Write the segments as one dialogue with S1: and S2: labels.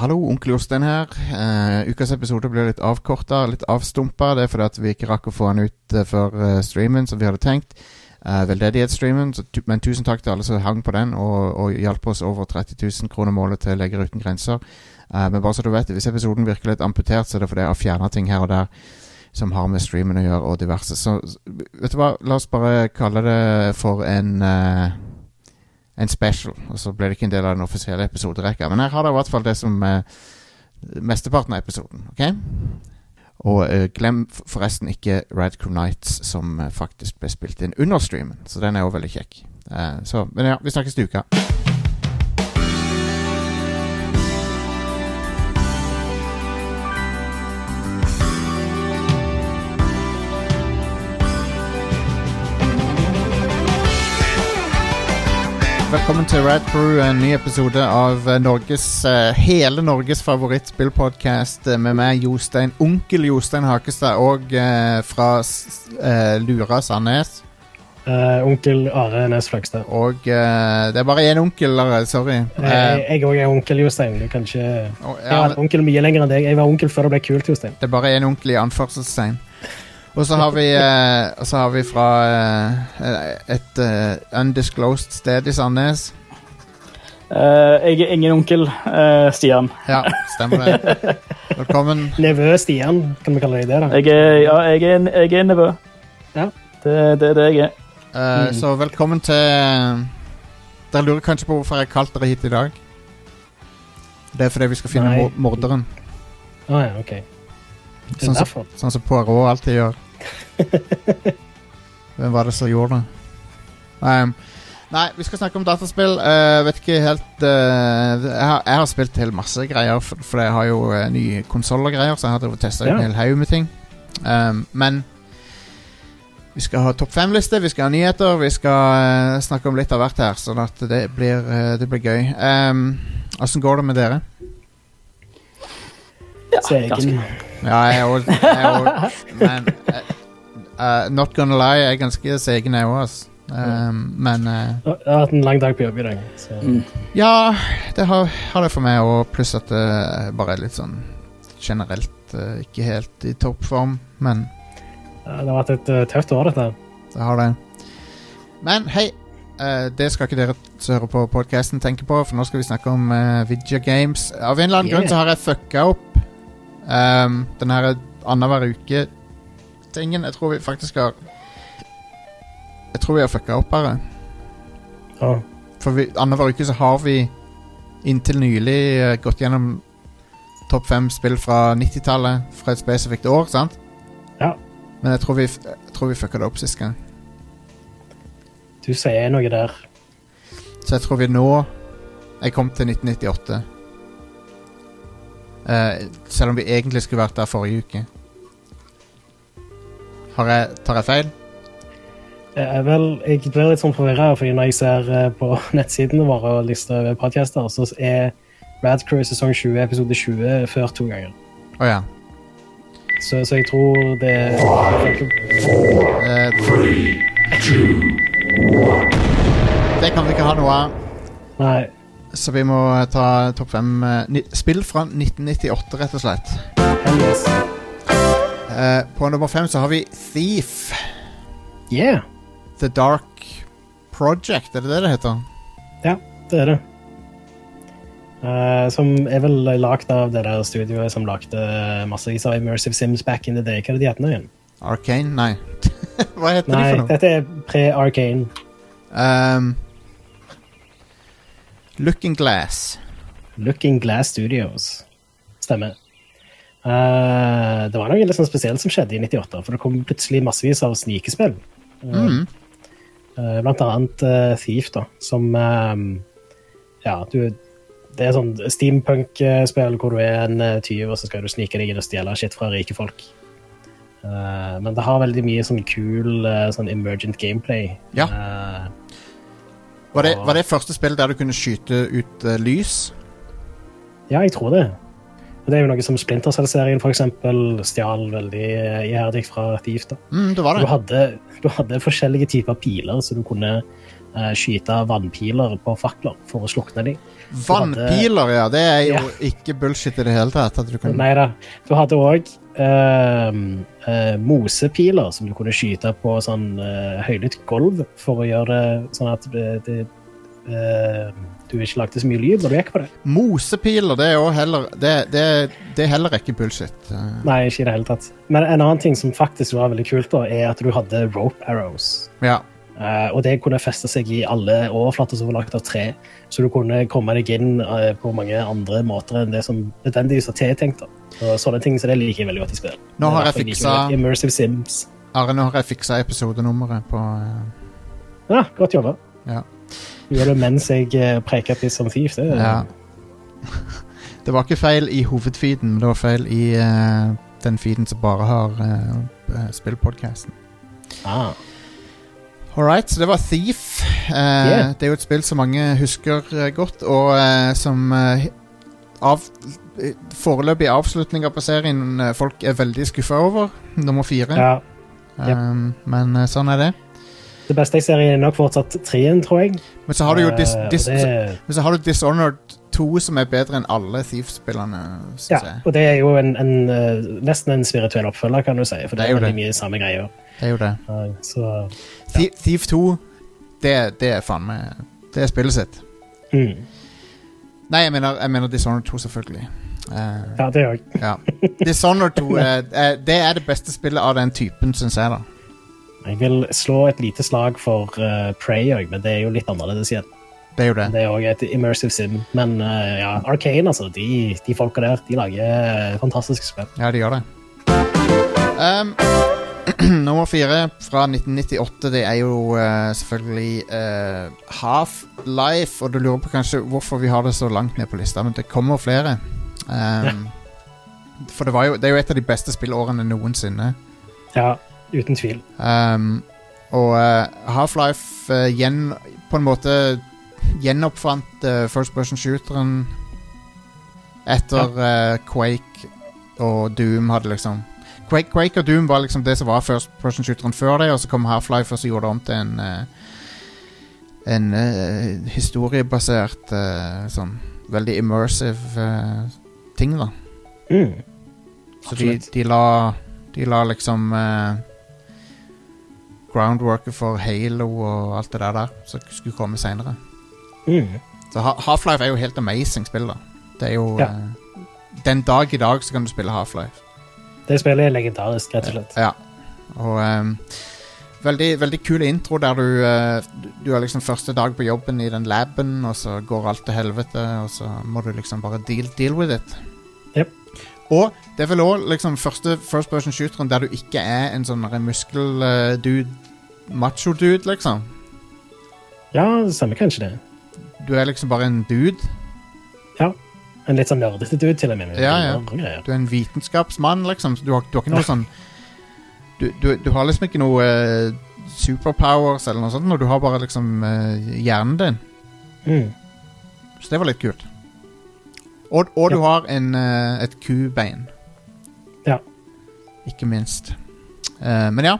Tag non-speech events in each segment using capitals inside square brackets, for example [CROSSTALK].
S1: hallo, onkel Jostein her. Eh, ukas episode blir litt avkorta, litt avstumpa. Det er fordi at vi ikke rakk å få den ut eh, før eh, streamen som vi hadde tenkt. Eh, Veldedighetsstreamen. så tu- Men tusen takk til alle som hang på den og, og hjalp oss over 30 000 kroner målet til Legger uten grenser. Eh, men bare så du vet, hvis episoden virker litt amputert, så er det fordi jeg har fjerna ting her og der som har med streamen å gjøre, og diverse. Så s- vet du hva, la oss bare kalle det for en eh, en special, og så ble det ikke en del av den offisielle episoderekka. Men her har dere i hvert fall det som eh, mesteparten av episoden, OK? Og eh, glem f- forresten ikke Radcrew Nights, som eh, faktisk ble spilt inn under streamen. Så den er jo veldig kjekk. Eh, så, men ja, vi snakkes til uka. Velkommen til Rad Crew, en ny episode av eh, Norges, eh, hele Norges favorittspillpodkast med meg, Jostein, onkel Jostein Hakestad, og eh, fra s- eh, Lura Sandnes.
S2: Eh, onkel Are Næss Fløgstad.
S1: Og eh, det er bare én onkel, Lars, sorry.
S2: Eh,
S1: Eh,
S2: jeg òg er onkel Jostein. Du kan ikke Jeg
S1: og-
S2: har
S1: ja,
S2: vært onkel mye lenger enn deg. Jeg var onkel før det ble kult, Jostein.
S1: det er bare én onkel i anførselstegn. Og så har vi, eh, og så har vi fra eh, et eh, undisclosed sted i Sandnes.
S3: Eh, jeg er ingen onkel, eh, Stian.
S1: Ja, stemmer det. Velkommen.
S2: Nevø Stian, kan vi kalle deg det? da?
S3: Jeg er, ja, jeg er, en- jeg er en nevø.
S2: Ja.
S3: Det det er det jeg er.
S1: Eh, Så velkommen til eh, Dere lurer kanskje på hvorfor jeg har kalt dere hit i dag. Det er fordi vi skal finne
S2: Nei.
S1: mor- morderen,
S2: Ah, ja, ok. Det
S1: Sånn
S2: er
S1: som-
S2: derfor.
S1: sånn som Poirot alltid gjør. Hvem var det som gjorde det? Ehm, nei, vi skal snakke om dataspill. Eh, vet ikke helt eh, jeg, har, jeg har spilt helt masse greier, for, for jeg har jo eh, nye konsoller og greier, så jeg har drevet og testa
S2: Ja.
S1: en hel haug med ting. Ehm, men vi skal ha topp fem-liste, vi skal ha nyheter, vi skal eh, snakke om litt av hvert her. Sånn at det blir, eh, det blir gøy. Åssen går det med dere?
S2: Svegen.
S1: Ja, jeg er også- jeg er også- Men eh, eh, Not gonna lie, jeg er ganske segen, jeg òg, altså. men eh,
S2: Jeg har hatt en lang dag på jobb i dag. Så.
S1: Mm. Ja, det har, har det for meg òg. Pluss at det bare er litt sånn generelt eh, ikke helt i toppform, men
S2: Ja, Det har vært et eh, tøft år, dette.
S1: det har det. Men hei, eh, det skal ikke dere som hører på podkasten tenke på, for nå skal vi snakke om eh, video games. Av en eller annen
S2: Yeah.
S1: grunn så har jeg fucka opp um, den her annenhver uke-tingen. Jeg tror vi faktisk har Jeg tror vi har fucka opp her.
S2: Ja.
S1: For vi- annenhver uke så har vi inntil nylig eh, gått gjennom topp fem spill fra 90-tallet fra et spesifikt år, sant?
S2: Ja.
S1: Men jeg tror vi, f- jeg tror vi fucka det opp sist gang.
S2: Du sier noe der.
S1: Så jeg tror vi nå Jeg kom til 1998. Eh, selv om vi egentlig skulle vært der forrige uke. Har jeg, tar jeg feil?
S2: Eh, vel, jeg blir litt sånn forvirra, fordi når jeg ser eh, på [LAUGHS] nettsidene våre og lister over podcaster, så er Rad Crew sesong 20 episode 20 ført to ganger.
S1: Å ja.
S2: Så, så jeg tror det
S1: Eh, det kan vi ikke ha noe av,
S2: Nei.
S1: så vi må ta topp fem eh, ni- spill fra 1998, rett og slett.
S2: Heldigvis.
S1: Eh, på nummer fem så har vi Thief.
S2: Yeah,
S1: The Dark Project, er det det det heter?
S2: det er det. Eh, som er vel lagd av det der studioet som lagde massevis av Immersive Sims back in the day. Hva er det de heter nå igjen?
S1: Arcane? Nei. [LAUGHS] Hva heter de
S2: Nei,
S1: for noe?
S2: dette er pre-Arcane.
S1: Um, Looking Glass.
S2: Looking Glass Studios. Stemmer. Eh, det var noe litt sånn spesielt som skjedde i 98, for det kom plutselig massevis av snikespill.
S1: Mm.
S2: Eh, Blant annet eh, Thief, da, som eh, Ja, du Det er sånn steampunk-spill hvor du er en eh, tyv, og så skal du snike deg inn og stjele shit fra rike folk. Eh, men det har veldig mye sånn kul eh, sånn emergent gameplay.
S1: Ja.
S2: Eh,
S1: Var, det, var det første spillet der du kunne skyte ut eh, lys?
S2: ja, jeg tror det. Og det er jo noe som Splintercell-serien for eksempel stjal veldig eh, iherdig fra Thief. da.
S1: Mm, det var
S2: Du
S1: det.
S2: hadde, du hadde forskjellige typer piler, så du kunne eh, skyte vannpiler på fakler for å slukne dem.
S1: Vannpiler, ja. Det er jo ikke bullshit i det hele tatt. At du kan
S2: Nei da. Du hadde òg mosepiler som du kunne skyte på sånn eh, høylytt gulv for å gjøre det sånn at det, det, eh, du ikke lagde så mye lyd når du gikk på det.
S1: Mosepiler, det er jo heller Det, det, det er heller ikke bullshit. Eh,
S2: Nei, ikke i det hele tatt. Men en annen ting som faktisk var veldig kult, da, er at du hadde rope arrows.
S1: Ja.
S2: Eh, og det kunne feste seg i alle overflater som var lagt av tre. Så du kunne komme deg inn eh, på mange andre måter enn det som nødvendigvis var tiltenkt. da. Og sånne ting, så det liker jeg veldig godt i spill.
S1: Nå har jeg
S2: Det er derfor liker
S1: fiksa-
S2: godt Immersive Sims.
S1: Are, nå har jeg fiksa episodenummeret på eh,
S2: Ja, godt jobba.
S1: Ja.
S2: Du gjør det mens jeg eh, preker piss som thief. Det,
S1: Ja. [LAUGHS] Det var ikke feil i hovedfeeden, men det var feil i eh, den feeden som bare har uh, spillpodkasten.
S2: Ah,
S1: All right, så det var Thief. Eh,
S2: Yeah.
S1: Det er jo et spill som mange husker eh, godt, og eh, som eh, av, eh, foreløpig avslutninger på serien eh, folk er veldig skuffa over. Nummer fire.
S2: ja.
S1: Um, men eh, sånn er det.
S2: Det beste jeg ser, er nok fortsatt treen, tror jeg.
S1: Men så har du jo dis,
S2: Eh, og
S1: dis,
S2: det,
S1: Men så har du Dishonored 2, som er bedre enn alle Thief-spillerne. synes
S2: ja,
S1: jeg.
S2: og det er jo en, en, eh, nesten en spirituell oppfølger, kan du si. For
S1: Det
S2: det
S1: er jo
S2: er veldig mye samme greier.
S1: Det er jo det.
S2: Eh, så
S1: Thi- Thief 2, det, det er faen meg Det er spillet sitt.
S2: mm.
S1: Nei, jeg mener, jeg mener Dishonored 2, selvfølgelig. Eh,
S2: Ja, det òg.
S1: Ja. Dishonored 2 er, er, det er det beste spillet av den typen, syns jeg. da
S2: Jeg vil slå et lite slag for eh, Prey òg, men det er jo litt annerledes igjen.
S1: Det er jo det.
S2: Det er òg et immersive sim. Men eh, ja, Arcane, altså. De, de folka der, de lager eh, fantastiske spill.
S1: Ja, det gjør det. Um, [CLEARS THROAT] nummer fire fra 1998, det er jo eh, selvfølgelig eh, Half-Life. Og du lurer på kanskje hvorfor vi har det så langt ned på lista, men det kommer flere. Um, for det, var jo, det er jo et av de beste spillårene noensinne.
S2: Ja, uten tvil.
S1: Um, og eh, Half-Life eh, gjen, på en måte gjenoppfant eh, first person shooteren etter eh, Quake og Doom hadde liksom Quake, Quake og Doom var liksom det som var first person shooteren før det, og så kom Half-Life og så gjorde det om til en eh, en eh, historiebasert eh, sånn veldig immersive eh, ting, da.
S2: Mm.
S1: Så de, de la De la liksom eh, Groundworket for Halo og alt det der der som skulle komme seinere.
S2: Mm.
S1: Så Ha- Half-Life er jo helt amazing spill, da. Det er jo
S2: Ja.
S1: eh, Den dag i dag så kan du spille Half-Life.
S2: Det spillet er legendarisk, rett og slett.
S1: Ja. Og ehm, Veldig, veldig kul intro der du eh, Du har liksom første dag på jobben i den laben, og så går alt til helvete, og så må du liksom bare deal, deal with it.
S2: Jep.
S1: Og det er vel òg liksom første first person shooteren der du ikke er en sånn eh, muskel-dude, macho-dude, liksom.
S2: Ja, det stemmer kanskje det.
S1: Du er liksom bare en dude.
S2: En litt sånn nerdete dude, til og med. med
S1: Ja, ja.
S2: briller og greier.
S1: Du er en vitenskapsmann, liksom. Så du har, du har ikke noe sånn du, du, du har liksom ikke noe eh, superpowers eller noe sånt, og du har bare liksom eh, hjernen din.
S2: Mm.
S1: Så det var litt kult. Og, og du har en, eh, et kubein.
S2: Ja.
S1: Ikke minst. Eh, men ja.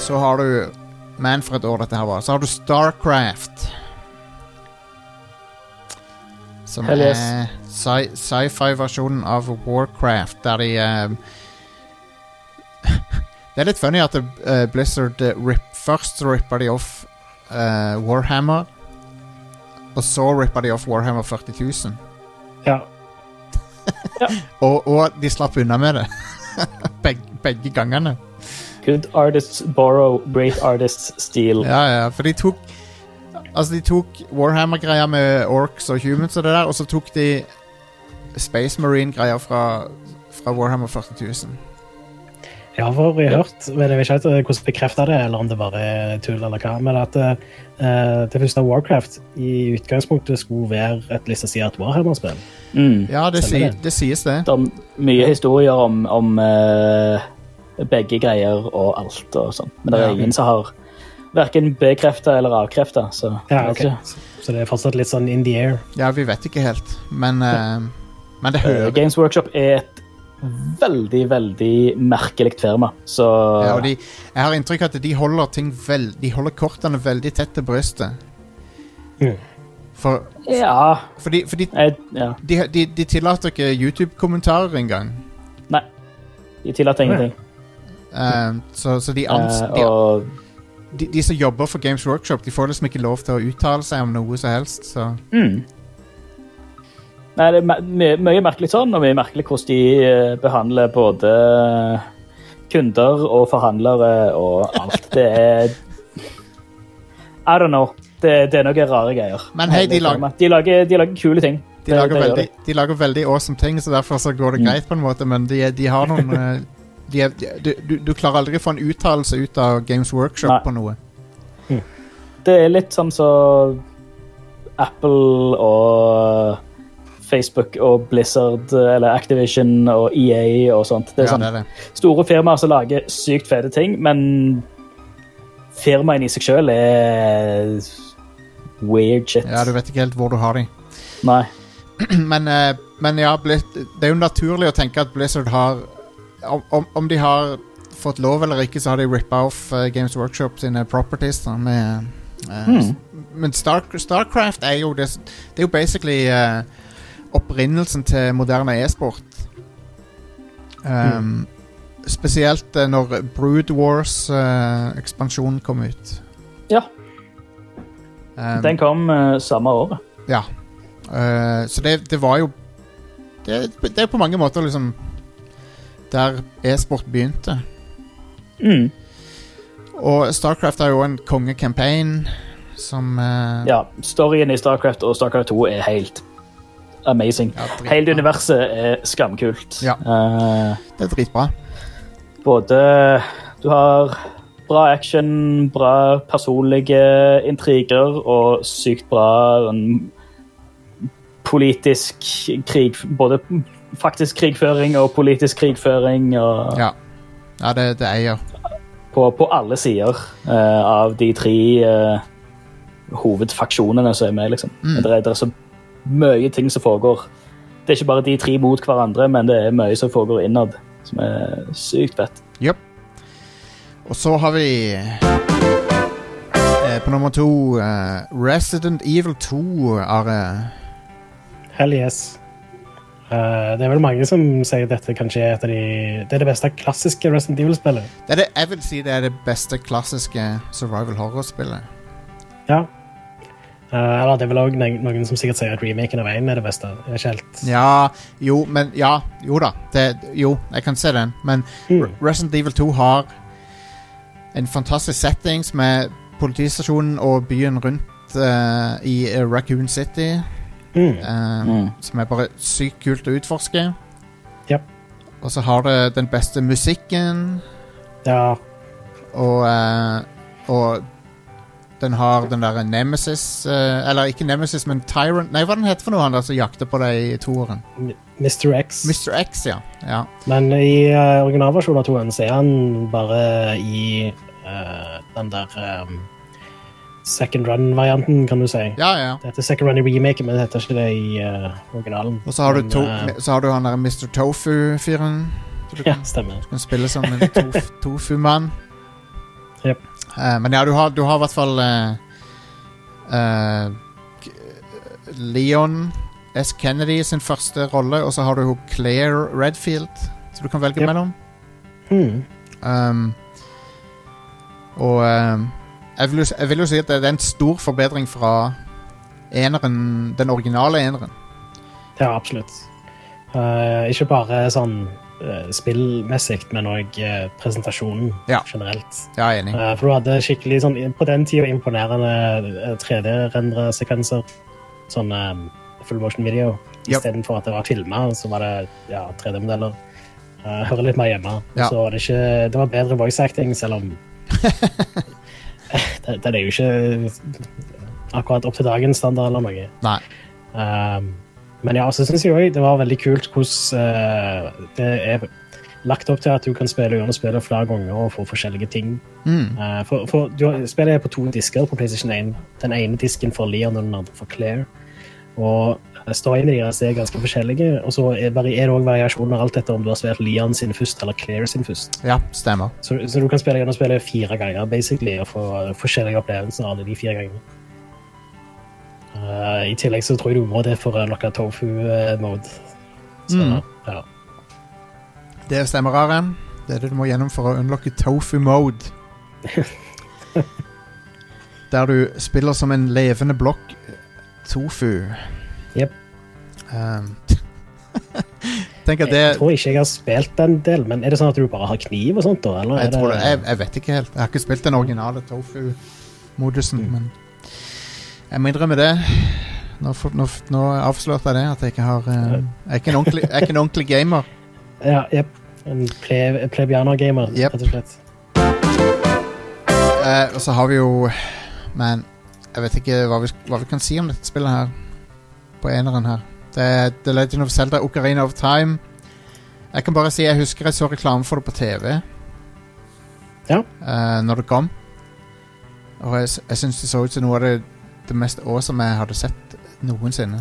S1: Så har du Men for et år dette her var. Så har du Starcraft. Som
S3: Hell yes.
S1: er sci- sci-fi-versjonen av Warcraft, der de eh, [LAUGHS] Det er litt funny at eh, Blizzard eh, rip, først så rippa de off eh, Warhammer, og så rippa de off Warhammer 40 000.
S2: ja.
S1: Og, og de slapp unna med det. [LAUGHS] Beg, begge gangene.
S3: Good artists borrow, great artists steal.
S1: Ja, ja, for de tok Altså, de tok Warhammer-greia med orcs og humans og det der, og så tok de Space Marine-greier fra, fra Warhammer 40 000.
S2: Jeg har for- jeg har hørt, men jeg vet ikke helt eh, hvordan bekrefta det, eller om det bare er tull, eller hva, men at eh, eh, det første Warcraft i utgangspunktet skulle være et lisensiert Warhammer-spill.
S3: Mm.
S1: Ja, det, si,
S2: Stemmer det.
S1: det sies, det.
S3: Det er mye historier om, om eh, begge greier og alt og sånn. Men det er
S1: Ja.
S3: ingen som har verken bekrefta eller avkrefta. Så
S2: Ja,
S3: jeg
S2: ok.
S3: vet ikke.
S2: Så det er fortsatt litt sånn in the air.
S1: Ja, vi vet ikke helt, men eh, Men det
S3: Eh,
S1: hører
S3: Games Workshop er et veldig, veldig merkelig firma. Så
S1: Ja, og de, jeg har inntrykk av at de holder ting vel, De holder kortene veldig tett til brystet.
S2: Mhm.
S1: For,
S3: ja,
S1: fordi, fordi
S3: jeg, ja.
S1: de, de, de tillater ikke YouTube-kommentarer engang.
S3: Nei. De tillater ingenting.
S1: Um, så, så de, ans,
S3: Eh,
S1: de,
S3: og
S1: de, de som jobber for Games Workshop, de får liksom ikke lov til å uttale seg om noe som helst. Så.
S3: Mm. Nei, det er me- mye, mye merkelig sånn, og mye merkelig hvordan de eh, behandler både kunder og forhandlere og alt. Det er I don't know. Det, det er noen rare greier.
S1: Men hei, de
S3: Hele
S1: lager-
S3: firmaet. de lager, de lager kule ting.
S1: De lager,
S3: gjør
S1: veldig, de lager veldig awesome ting, så derfor så går det
S3: Mm.
S1: greit, på en måte, men de, de har noen eh, de, er- de, du- du, du klarer aldri å få en uttalelse ut av Games Workshop
S3: Nei.
S1: på noe.
S3: Det er litt sånn som Apple og Facebook og Blizzard eller Activision og EA og sånt. Det er
S1: Ja,
S3: sånn
S1: det er det.
S3: store firmaer som lager sykt fete ting, men firmaene i seg sjøl er weird shit.
S1: Ja, du vet ikke helt hvor du har de.
S3: Nei.
S1: [CLEARS THROAT] Men, eh, men ja, Blizz- det er jo naturlig å tenke at Blizzard har Om, om, om de har fått lov eller ikke, så har de rippa off eh, Games Workshop sine properties. Da, med, eh,
S3: Hmm.
S1: s- Men Star, Starcraft er jo det, s- det er jo basically eh, opprinnelsen til moderne e-sport. Um, Spesielt eh, når Brood Wars-ekspansjonen kom ut.
S3: Ja.
S1: Um,
S3: Den kom eh, samme året.
S1: Eh, så det, det var jo det, det er på mange måter liksom der e-sport begynte.
S3: Mm.
S1: Og Starcraft er jo en kongecampaign som eh,
S3: Ja, storyen i Starcraft og Starcraft 2 er helt amazing.
S1: ja, dritbra.
S3: Hele universet er skamkult.
S1: Ja.
S3: Eh,
S1: Det er dritbra.
S3: både Du har bra action, bra personlige intriger og sykt bra um, politisk krig Både faktisk krigføring og politisk krigføring og
S1: Ja, ja det, det eier.
S3: på, på alle sider eh, av de tre eh, hovedfaksjonene som er med. liksom.
S1: Mm.
S3: Det, er, det er så mye ting som foregår. Det er ikke bare de tre mot hverandre, men det er mye som foregår innad, som er sykt fett.
S1: Og så har vi eh, på nummer to eh, Resident Evil eh, 2, Are.
S2: Hell yes. Eh, det er vel mange som sier at dette kanskje er et av de Det er det beste klassiske Resident Evil-spillet.
S1: Det er det, jeg vil si det er det beste klassiske survival horror-spillet.
S2: Ja. Eh, eller det er vel òg noen som sikkert sier at remaken av 1 er det beste. Jeg er ikke helt
S1: Ja, jo, men Ja, jo da. Det, jo, jeg kan se den, men
S2: mm.
S1: Resident Evil 2 har en fantastisk setting som er politistasjonen og byen rundt eh, i eh, Raccoon City.
S2: Mm.
S1: eh, Som er bare sykt kult å utforske.
S2: Ja.
S1: Og så har det den beste musikken,
S2: Ja.
S1: og, eh, og den har den derre Nemesis eh, Eller ikke Nemesis, men Tyrant Nei, hva den heter for noe, han der som jakter på deg i toeren?
S2: Mr. X.
S1: Mr. X, ja. ja.
S2: Men i uh, originalversjonen av 2-en så er han bare i eh, den der eh, second run-varianten, kan du si.
S1: Ja, ja.
S2: Det heter second run i remaken, men det heter ikke det i eh, originalen.
S1: Og så har, du
S2: Men,
S1: to,
S2: eh,
S1: så har du han der Mr. Tofu-fyren. Så du
S2: Ja,
S1: kan-
S2: stemmer.
S1: kan spille som en tof,
S2: [LAUGHS]
S1: tofu-mann.
S2: Jep.
S1: Eh, men ja, du har, du har i hvert fall eh, eh, k- Leon S. Kennedy sin første rolle, og så har du hun Claire Redfield, som du kan velge
S2: Jep.
S1: mellom.
S2: Hmm.
S1: Um, og um, jeg, vil, jo s- jeg vil jo si at det er en stor forbedring fra eneren, den originale eneren.
S2: Ja, absolutt. Eh, ikke bare sånn eh, spillmessig, men òg presentasjonen
S1: Ja.
S2: generelt.
S1: Ja, jeg er enig.
S2: Eh, for du hadde skikkelig sånn på den tida imponerende eh, 3D-rendresekvenser. Sånn eh, full motion video.
S1: Yep.
S2: Istedenfor at det var filma, så var det ja, 3D-modeller. Eh, hører litt mer hjemme.
S1: Ja.
S2: Så var det ikke Det var bedre voice acting, selv
S1: [LAUGHS]
S2: om [LAUGHS] den, den er jo ikke akkurat opp til dagens standard eller noe.
S1: Nei.
S2: Um, men ja, så synes jeg også det var veldig kult hvordan eh, det er lagt opp til at du kan spille gjennom spillet flere ganger og få forskjellige ting.
S1: Mm.
S2: Eh, for for du, har- spillet er på to disker på PlayStation 1. Den ene disken for Leon og den andre for Claire. Og Storyene deres er ganske forskjellige, og så er vari- er det òg variasjoner alt etter om du har spilt Leon sin først eller Claire sin først.
S1: Ja, stemmer.
S2: Så, så du kan spille gjennom spillet fire ganger basically, og få forskjellige opplevelser av det de fire gangene. Eh, I tillegg så tror jeg du må det for å unlocke tofu-mode. Så
S1: Mm.
S2: ja.
S1: Det stemmer, Are. Det er det du må gjennom for å unlocke Tofu
S2: [LAUGHS]
S1: Mode. Der du spiller som en levende blokk tofu.
S2: Jep.
S1: Um, [LAUGHS] Tenk at det
S2: Jeg tror ikke jeg har spilt den del, men er det sånn at du bare har kniv og sånt da? Eller
S1: jeg,
S2: er
S1: tror det, jeg, jeg vet ikke helt. Jeg har ikke spilt den originale Tofu-modusen,
S2: Mm.
S1: men jeg må innrømme det. Nå, for- nå, f- nå avslørte jeg det, at jeg ikke har eh, Jeg er ikke en ordentlig, jeg er ikke en ordentlig gamer.
S2: Ja, jep. En ple plebianer-gamer,
S1: Jep.
S2: rett og slett.
S1: Eh, og så har vi jo Men jeg vet ikke hva vi, sk- hva vi kan si om dette spillet her. På eneren her. Det er The Legend of Zelda Ocarina of Time. Jeg kan bare si jeg husker jeg så reklame for det på TV.
S2: Ja.
S1: Eh, når det kom. Og jeg, s- jeg syns det så ut som noe av det, det mest awesome jeg hadde sett noensinne.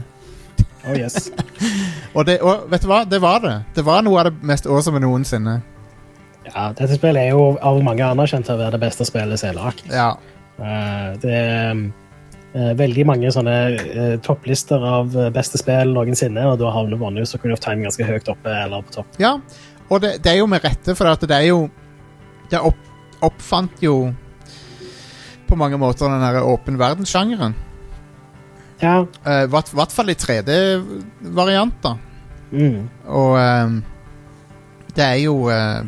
S2: Oh yes. [LAUGHS]
S1: Og, det, og vet du hva? Det var det. Det var noe av det mest awesome noensinne.
S2: Ja, dette spillet er jo av mange anerkjent til å være det beste spillet som er lagd.
S1: Ja.
S2: Eh, Det er eh, veldig mange sånne eh, topplister av eh, beste spill noensinne, og da havner vanligvis Ocarina of Time ganske høyt oppe eller på topp.
S1: Ja, og det, det er jo med rette, for at det er jo Det opp, oppfant jo på mange måter den der åpen verden-sjangeren.
S2: Ja.
S1: I hvert fall i 3D-varianter.
S2: Mm.
S1: Og ehm, det er jo eh,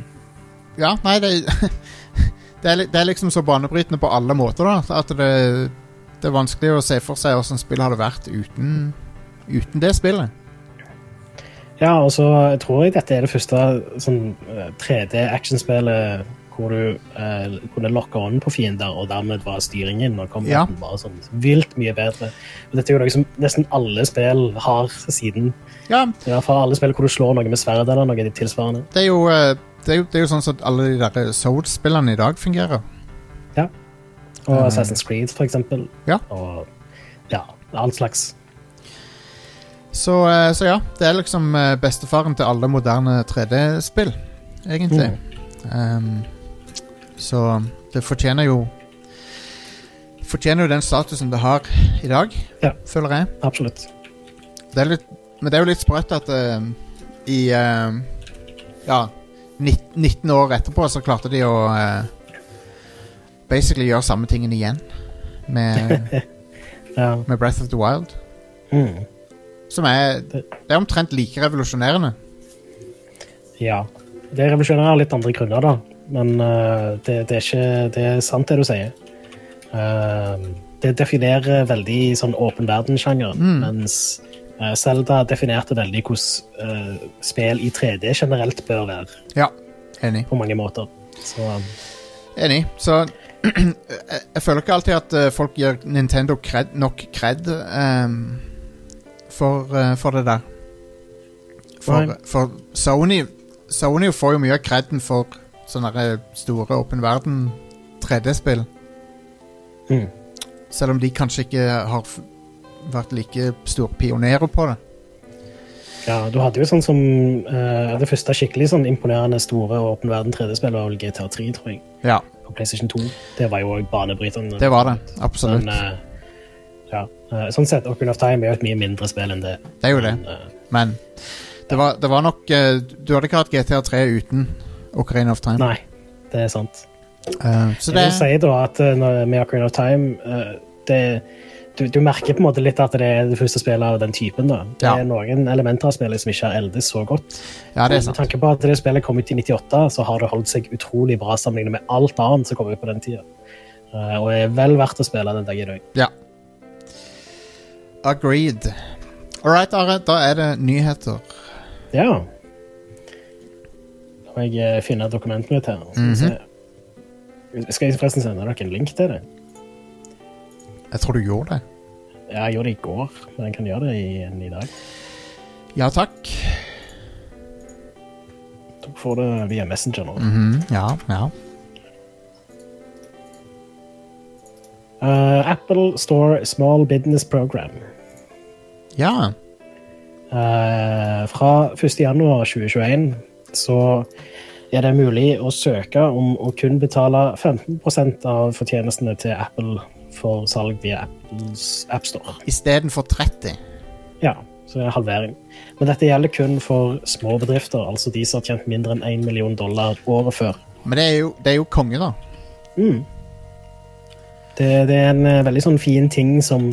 S1: Ja, nei, det, [LAUGHS] det, er, li- det er liksom så banebrytende på alle måter, da. At det, det er vanskelig å se for seg åssen spillet hadde vært uten, uten det spillet.
S2: Ja, og så tror jeg dette er det første sånn, 3D-actionspillet hvor du eh, kunne lokke ånden på fiender, og dermed var styringen og
S1: Ja.
S2: combaten bare sånn vilt mye bedre. Og dette er jo noe som nesten alle spill har siden.
S1: Ja,
S2: I hvert fall alle spill hvor du slår noe med sverd eller noe tilsvarende.
S1: det er jo, eh, det er jo, det er jo sånn som alle de der Soul-spillene i dag fungerer.
S2: Og
S1: Mm.
S2: Assassin's Creed, for eksempel.
S1: Ja.
S2: Og ja, all slags.
S1: Så, eh, så ja, det er liksom eh, bestefaren til alle moderne 3D-spill, egentlig. Ehm, så det fortjener jo Fortjener jo den statusen det har i dag,
S2: Ja.
S1: føler jeg.
S2: Absolutt.
S1: Det er litt, men det er jo litt sprøtt at eh, i eh, Ja, 19, 19 år etterpå så klarte de å eh, basically gjøre samme tingen igjen med,
S2: Ja.
S1: med Breath of the Wild.
S2: Mm.
S1: Som er Det er omtrent like revolusjonerende.
S2: ja. Det er revolusjonære av litt andre grunner, da. Men eh, det, det, er ikke, det er sant, det du sier. Eh, det definerer veldig sånn åpen verden-sjangeren, mens eh, Zelda definerte veldig hvordan eh, spill i 3D generelt bør være,
S1: Ja, enig.
S2: på mange måter. Så eh,
S1: Enig. Så [CLEARS THROAT] jeg, jeg føler ikke alltid at eh, folk gir Nintendo cred, nok cred ehm, for, eh, for det der. For,
S2: Nei.
S1: for Sony Sony får jo mye av creden for sånne der store åpen verden 3D-spill.
S2: mm.
S1: Selv om de kanskje ikke har f vært like store pionerer på det.
S2: Ja, du hadde jo sånn som eh, Det første skikkelig sånn imponerende store åpen verden 3D-spillet var vel GTA 3, tror jeg.
S1: Ja,
S2: På PlayStation 2. Det var jo òg banebrytende.
S1: det var det. Absolutt.
S2: Men, eh, ja. eh, sånn sett, Ocarina of Time er jo et mye mindre spill enn det.
S1: Det er jo det.
S2: Men, eh,
S1: Men det var, det var nok eh, Du hadde ikke hatt GTA3 uten Ocarina of Time.
S2: nei, det er sant.
S1: Eh, så
S2: Jeg
S1: det
S2: vil si da at eh, når- med Ocarina of Time eh, det, du, du merker på en måte litt at det er det første spillet av den typen. da. Det
S1: Ja.
S2: er noen elementer av spillet som ikke har eldes så godt.
S1: Ja, det er
S2: Med
S1: sant.
S2: tanke på at det spillet kom ut i 98, så har det holdt seg utrolig bra sammenlignet med alt annet som kom ut på den tida. Eh, og er vel verdt å spille den dag i dag.
S1: Ja. Agreed. All right, Are. Da er det nyheter.
S2: Ja. Da må jeg eh, finne dokumentet mitt her. Skal, vi se. skal jeg forresten sende dere en link til det?
S1: Jeg tror du gjorde det.
S2: Ja, jeg gjorde det i går, men jeg kan gjøre det igjen i dag.
S1: Ja takk.
S2: Dere får det via Messenger nå.
S1: Mhm, Ja, ja.
S2: Eh, Apple Store Small Business Program.
S1: Ja.
S2: Eh, fra 1.1.2021 så er det mulig å søke om å kun betale 15 av fortjenestene til Apple for salg via Apples AppStore.
S1: Istedenfor 30.
S2: Ja, så det er en halvering. Men dette gjelder kun for små bedrifter, altså de som har tjent mindre enn 1 million dollar året før.
S1: Men det er jo, det er jo konge, da.
S2: Mm. Det, det er en eh, veldig sånn fin ting som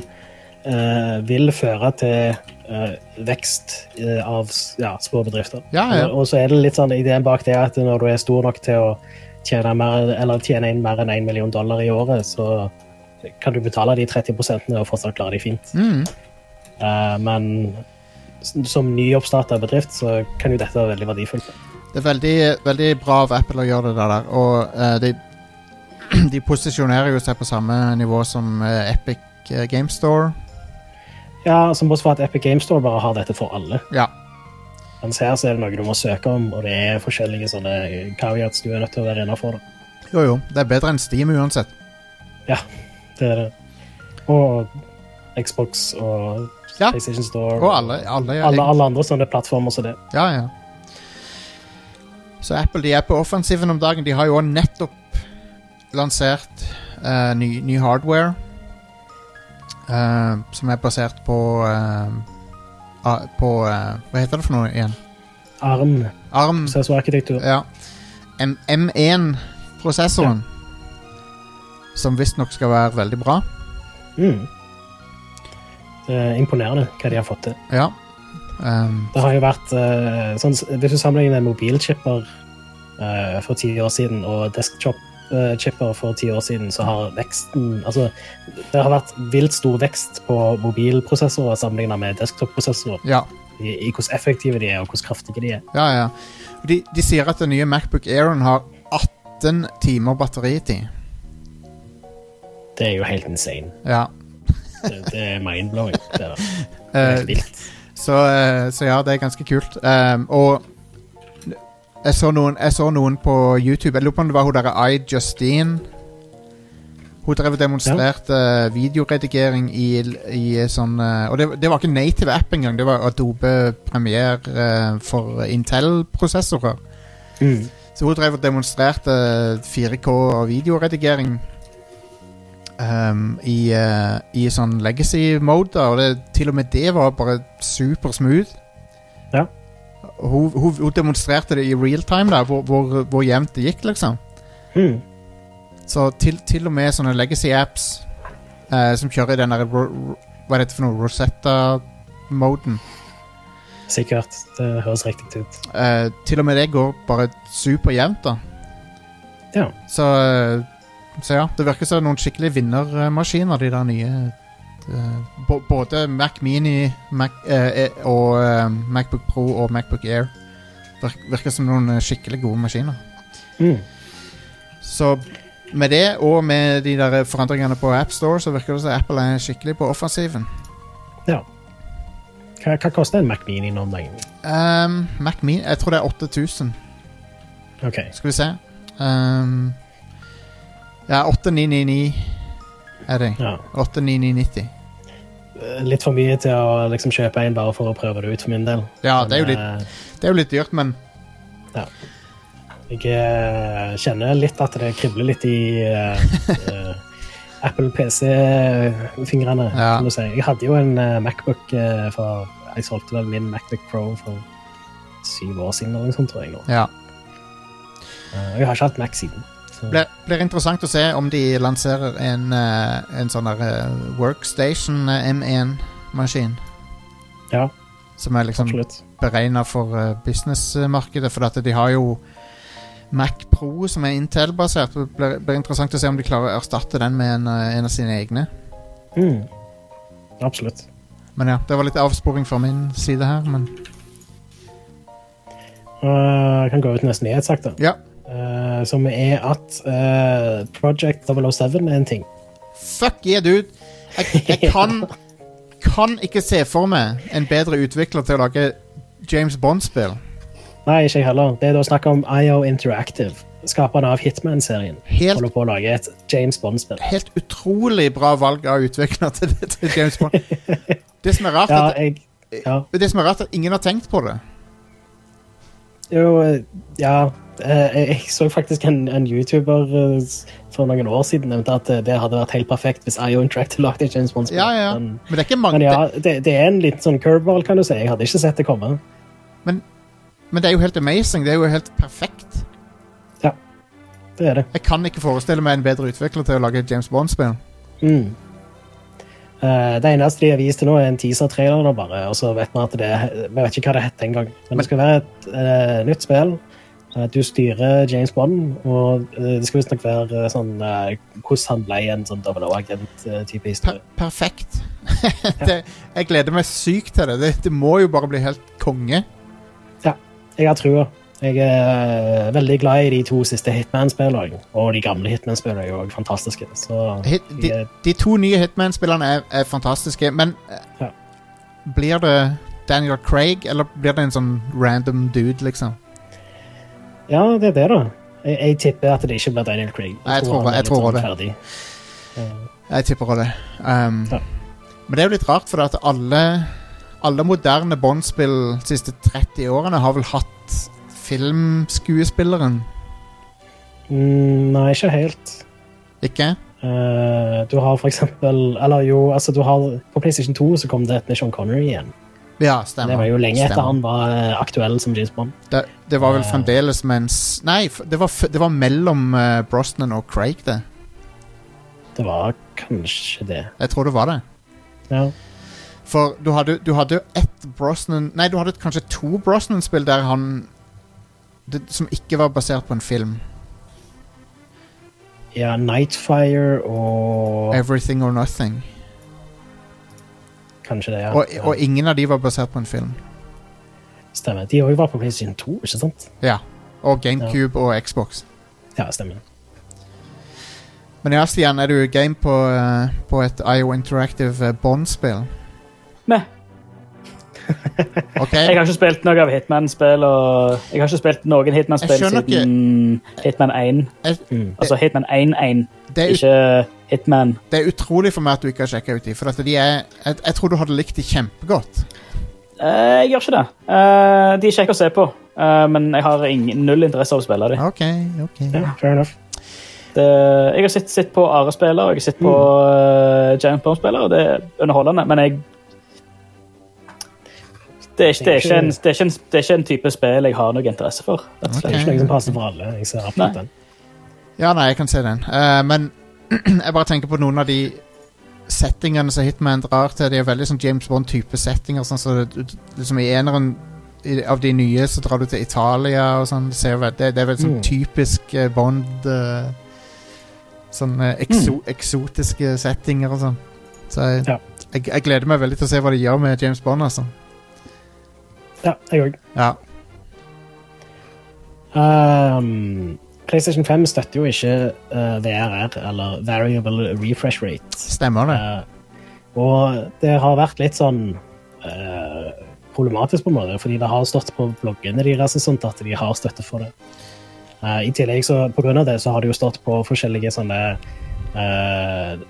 S2: eh, vil føre til eh, vekst eh, av s- ja, små bedrifter.
S1: Ja, ja.
S2: Og, og så er det litt sånn ideen bak det at når du er stor nok til å tjene, mer, eller tjene inn mer enn 1 million dollar i året, så kan du betale de 30 og fortsatt klare deg fint.
S1: Mm.
S2: Eh, men s- som nyoppstarta bedrift så kan jo dette være veldig verdifullt.
S1: Det er veldig, veldig bra av Apple å gjøre det der. Og eh, de, [CLEARS THROAT] de posisjonerer jo seg på samme nivå som eh, Epic eh, Game Store.
S2: Ja, Som bortsett fra at Epic Games Store bare har dette for alle.
S1: Ja.
S2: Mens her så er det noe du må søke om, og det er forskjellige sånne eh, caveats du er nødt til å være innafor.
S1: Jo, jo. Det er bedre enn Steam uansett.
S2: Det er det. Og Xbox og
S1: Ja.
S2: PlayStation Store.
S1: Og alle. alle,
S2: alle, alle andre sånne plattformer som det.
S1: Ja, ja. Så Apple de er på offensiven om dagen. De har jo også nettopp lansert eh, ny, ny hardware. eh, som er basert på eh, a- På eh, Hva heter det for noe igjen?
S2: Arm,
S1: ARM.
S2: prosessorarkitektur.
S1: Ja. M- M1-prosessoren. Som visstnok skal være veldig bra.
S2: Mm. Det er imponerende hva de har fått til.
S1: Ja. Ehm,
S2: Det har jo vært eh, sånn, Hvis du sammenligner mobilchipper eh, for ti år siden og desktop-chipper for ti år siden, så har veksten Altså, det har vært vilt stor vekst på mobilprosessorer sammenlignet med desktop-prosessorer.
S1: ja.
S2: I, I hvordan effektive de er, og hvordan kraftige de er.
S1: Ja, ja. De, de sier at den nye Macbook Airen har 18 timer batteritid.
S2: Det er jo helt insane.
S1: Ja.
S2: Det, det er mind-blowing. Det er det. Det er
S1: Eh,
S2: helt vilt.
S1: så, eh, så ja, det er ganske kult. Ehm, og jeg så, noen, jeg så noen på YouTube. Jeg lurer på om det var hun derre I. Justine. Hun drev og demonstrerte eh, videoredigering i, i sånn eh, Og det, det var ikke native app engang. Det var Adobe Premiere eh, for Intel-prosessorer.
S2: Mm.
S1: Så hun drev og demonstrerte 4K og videoredigering ehm, i, eh, i sånn legacy mode, da, og det, til og med det var bare super smooth.
S2: Ja.
S1: Og Hun, hun, hun demonstrerte det i real time, da, hvor, hvor, hvor jevnt det gikk, liksom.
S2: Mm.
S1: Så til, til og med sånne legacy apps eh, som kjører i den der Ro- Ro- Hva er dette for noe? Rosetta-moden.
S2: Sikkert. Det høres riktig ut.
S1: Eh, til og med det går bare superjevnt, da.
S2: Ja.
S1: Så, eh, så ja, det virker som noen skikkelig vinnermaskiner, de der nye. eh, bo- Både Mac Mini Mac, eh, eh, og eh, Macbook Pro og Macbook Air Virk- virker som noen eh, skikkelig gode maskiner.
S2: Mm.
S1: Så med det, og med de der forandringene på AppStore, så virker det som Apple er skikkelig på offensiven.
S2: ja. Hva, hva koster en Mac Mini nå om dagen?
S1: Ehm, Mac Mini Jeg tror det er 8000.
S2: OK.
S1: Skal vi se. Ehm, ja, 8999 er det.
S2: Ja.
S1: 8990.
S2: eh, litt for mye til å liksom kjøpe en bare for å prøve det ut for min del.
S1: Ja, det er jo
S2: Men,
S1: litt Det er jo litt dyrt, men
S2: eh, Jeg eh, kjenner litt at det kribler litt i eh,
S1: [LAUGHS]
S2: eh, Apple PC-fingrene,
S1: Ja.
S2: kan du si. Jeg hadde jo en eh, Macbook eh, for Jeg solgte vel min Macbook Pro for syv år siden, eller noe sånt, tror jeg. nå.
S1: ja.
S2: Eh, og jeg har ikke hatt Mac siden. Så,
S1: Blir, blir interessant å se om de lanserer en, eh, en sånn der eh, Workstation eh, M1-maskin.
S2: ja,
S1: Som er liksom
S2: absolutt.
S1: beregna for eh, businessmarkedet, for at de har jo Mac Pro, som er Intel-basert. Det blir, blir interessant å se om de klarer å erstatte den med en, eh, en av sine egne.
S2: Mm. Absolutt.
S1: Men ja, det var litt avsporing fra min side her, men
S2: Eh, jeg kan gå ut med en nyhet sakte.
S1: ja.
S2: Eh, som er at eh, Project 007 er en ting.
S1: Fuck yeah, dude! Jeg, jeg kan, kan ikke se for meg en bedre utvikler til å lage James Bond-spill.
S2: Nei, ikke jeg heller. Det er da snakk om IO Interactive, skaperne av Hitman-serien.
S1: Helt
S2: Holder på å lage et James Bond-spill.
S1: helt utrolig bra valg av utvikler til, til James Bond. Det som er rart,
S2: Ja,
S1: er at
S2: jeg, Ja.
S1: Det er det som er rart, at ingen har tenkt på det.
S2: Jo, eh, ja eh, Jeg jeg så faktisk en, en YouTuber eh, s- for noen år siden nevnte at eh, det hadde vært helt perfekt hvis IO Interactive lagde et James Bond-spill.
S1: Ja, ja, ja.
S2: Men,
S1: Men det er ikke mange
S2: men ja, det, det er en liten sånn curveball, kan du si. Jeg hadde ikke sett det komme.
S1: Men det er jo helt amazing. Det er jo helt perfekt.
S2: Det er det.
S1: Jeg kan ikke forestille meg en bedre utvikler til å lage et James Bond-spill.
S2: Mm. Eh, det eneste de har vist til nå, er en teaser-trailer, da bare, og så vet vi at det Vi vet ikke hva det het engang, men,
S1: Men-
S2: det skal være et eh, nytt spill. Eh, du styrer James Bond, og eh, det skal visstnok være eh, sånn eh, hvordan han ble en sånn double-agent-type
S1: Per
S2: historie.
S1: perfekt. [LAUGHS] det, jeg gleder meg sykt til det. det. Det må jo bare bli helt konge.
S2: Jeg har trua. Jeg er eh, veldig glad i de to siste Hitman-spillene, og de gamle Hitman-spillene er jo også fantastiske. Så
S1: Hit, de,
S2: jeg,
S1: de to nye Hitman-spillerne er, er fantastiske, men eh,
S2: Ja.
S1: blir det Daniel Craig, eller blir det en sånn random dude, liksom?
S2: ja, det er det, da. Jeg, jeg tipper at det ikke blir Daniel Craig.
S1: Nei, jeg tror-
S2: han er
S1: jeg
S2: litt
S1: tror
S2: sånn
S1: det.
S2: ferdig.
S1: Jeg tipper det. Um,
S2: Ja.
S1: Men det er jo litt rart, for at alle, alle moderne Bond-spill de siste 30 årene har vel hatt filmskuespilleren,
S2: Mm, nei, ikke helt.
S1: ikke?
S2: Eh, du har for eksempel Eller jo, altså du har På PlayStation 2 så kom det et med Sean Connery igjen.
S1: Ja, stemmer.
S2: Det var jo lenge etter
S1: Stemmer.
S2: han var eh, aktuell som James Bond.
S1: Det, det var vel
S2: Eh.
S1: fremdeles mens Nei, f- det var, f- det var mellom eh, Brosnan og Craig, det.
S2: Det var kanskje det.
S1: Jeg tror det var det.
S2: Ja.
S1: For du hadde, du hadde jo ett Brosnan Nei, du hadde kanskje to Brosnan-spill der han det, Som ikke var basert på en film.
S2: ja, Nightfire og
S1: Everything or Nothing.
S2: Kanskje det, ja.
S1: Og, og ingen av de var basert på en film.
S2: ja. Stemmer. De òg var på PlayStation 2, ikke sant?
S1: Ja. Og GameCube og Xbox.
S2: Ja, stemmer.
S1: Men ja, Stian, er du game på, eh, på et IO Interactive eh,
S3: [LAUGHS]
S1: Bond-spill?
S3: Meh.
S1: OK?
S3: Jeg har ikke spilt noe av Hitman-spill, og jeg har ikke spilt noen Hitman-spill
S1: Jeg skjønner
S3: siden Hitman 1.
S2: Mm.
S3: Altså Hitman 1-1,
S1: Det er, ut,
S3: ikke Hitman.
S1: det er utrolig for meg at du ikke har sjekka ut de, for at de er jeg, jeg tror du hadde likt de kjempegodt.
S3: Eh, jeg gjør ikke det. Eh, de er kjekke å se på, eh, men jeg har ingen, null interesse av å spille dem.
S1: OK, OK.
S2: Ja, fair enough.
S3: Jeg har sett, sett på Are-spillere og jeg har sett på eh, Giant Bomb-spillere, og det er underholdende, men jeg det er, ikke, det, er ikke en, det, er ikke en, det er ikke en type spill jeg har noe interesse for. rett og
S2: Det
S3: slett.
S2: er ikke noe som passer for alle. Jeg ser
S3: Nei.
S2: absolutt den.
S1: Ja, nei, jeg kan se den. Eh, men [CLEARS THROAT] jeg bare tenker på noen av de settingene som Hitman drar til. De er veldig sånn James Bond-type settinger. Sånn, så det, liksom I eneren i- av de nye så drar du til Italia og sånn. Det, ser vel- det, det er vel sånn
S2: Mm.
S1: typisk eh, Bond eh, Sånn eh, ekso, eksotiske settinger og sånn. Så jeg,
S2: Mm. Ja.
S1: jeg, jeg gleder meg veldig til å se hva de gjør med James Bond, altså.
S2: Ja, jeg òg.
S1: Ja.
S2: Um, PlayStation 5 støtter jo ikke eh, VRR, eller Variable Refresh Rate.
S1: Stemmer det.
S2: Eh, og det har vært litt sånn eh, problematisk på en måte, fordi det har stått på bloggene deres og sånt at de har støtte for det. Eh, I tillegg så, på grunn av det, så har det jo stått på forskjellige sånne eh,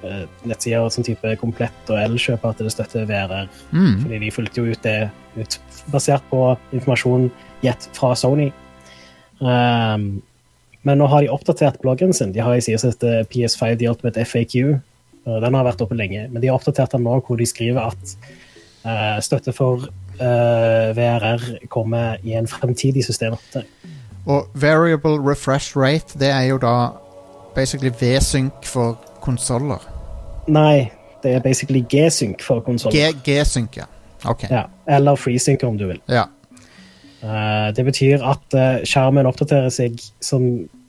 S2: eh, nettsider sånn type Komplett og Elkjøp at det støtter VRR,
S1: Mm.
S2: fordi de fulgte jo ut det ut, basert på informasjon gitt fra Sony. Ehm, men nå har de oppdatert bloggen sin. De har en side som heter PS5 The Ultimate FAQ. og Eh, Den har vært oppe lenge, men de har oppdatert den nå hvor de skriver at eh, støtte for eh, VRR kommer i en fremtidig systemoppdatering.
S1: Og variable refresh rate, det er jo da basically V-sync for konsoller.
S2: Nei, det er basically G-sync for konsollen.
S1: G-sync, ja. Ok.
S2: Ja, eller FreeSync om du vil.
S1: Ja.
S2: Eh, det betyr at eh, skjermen oppdaterer seg som,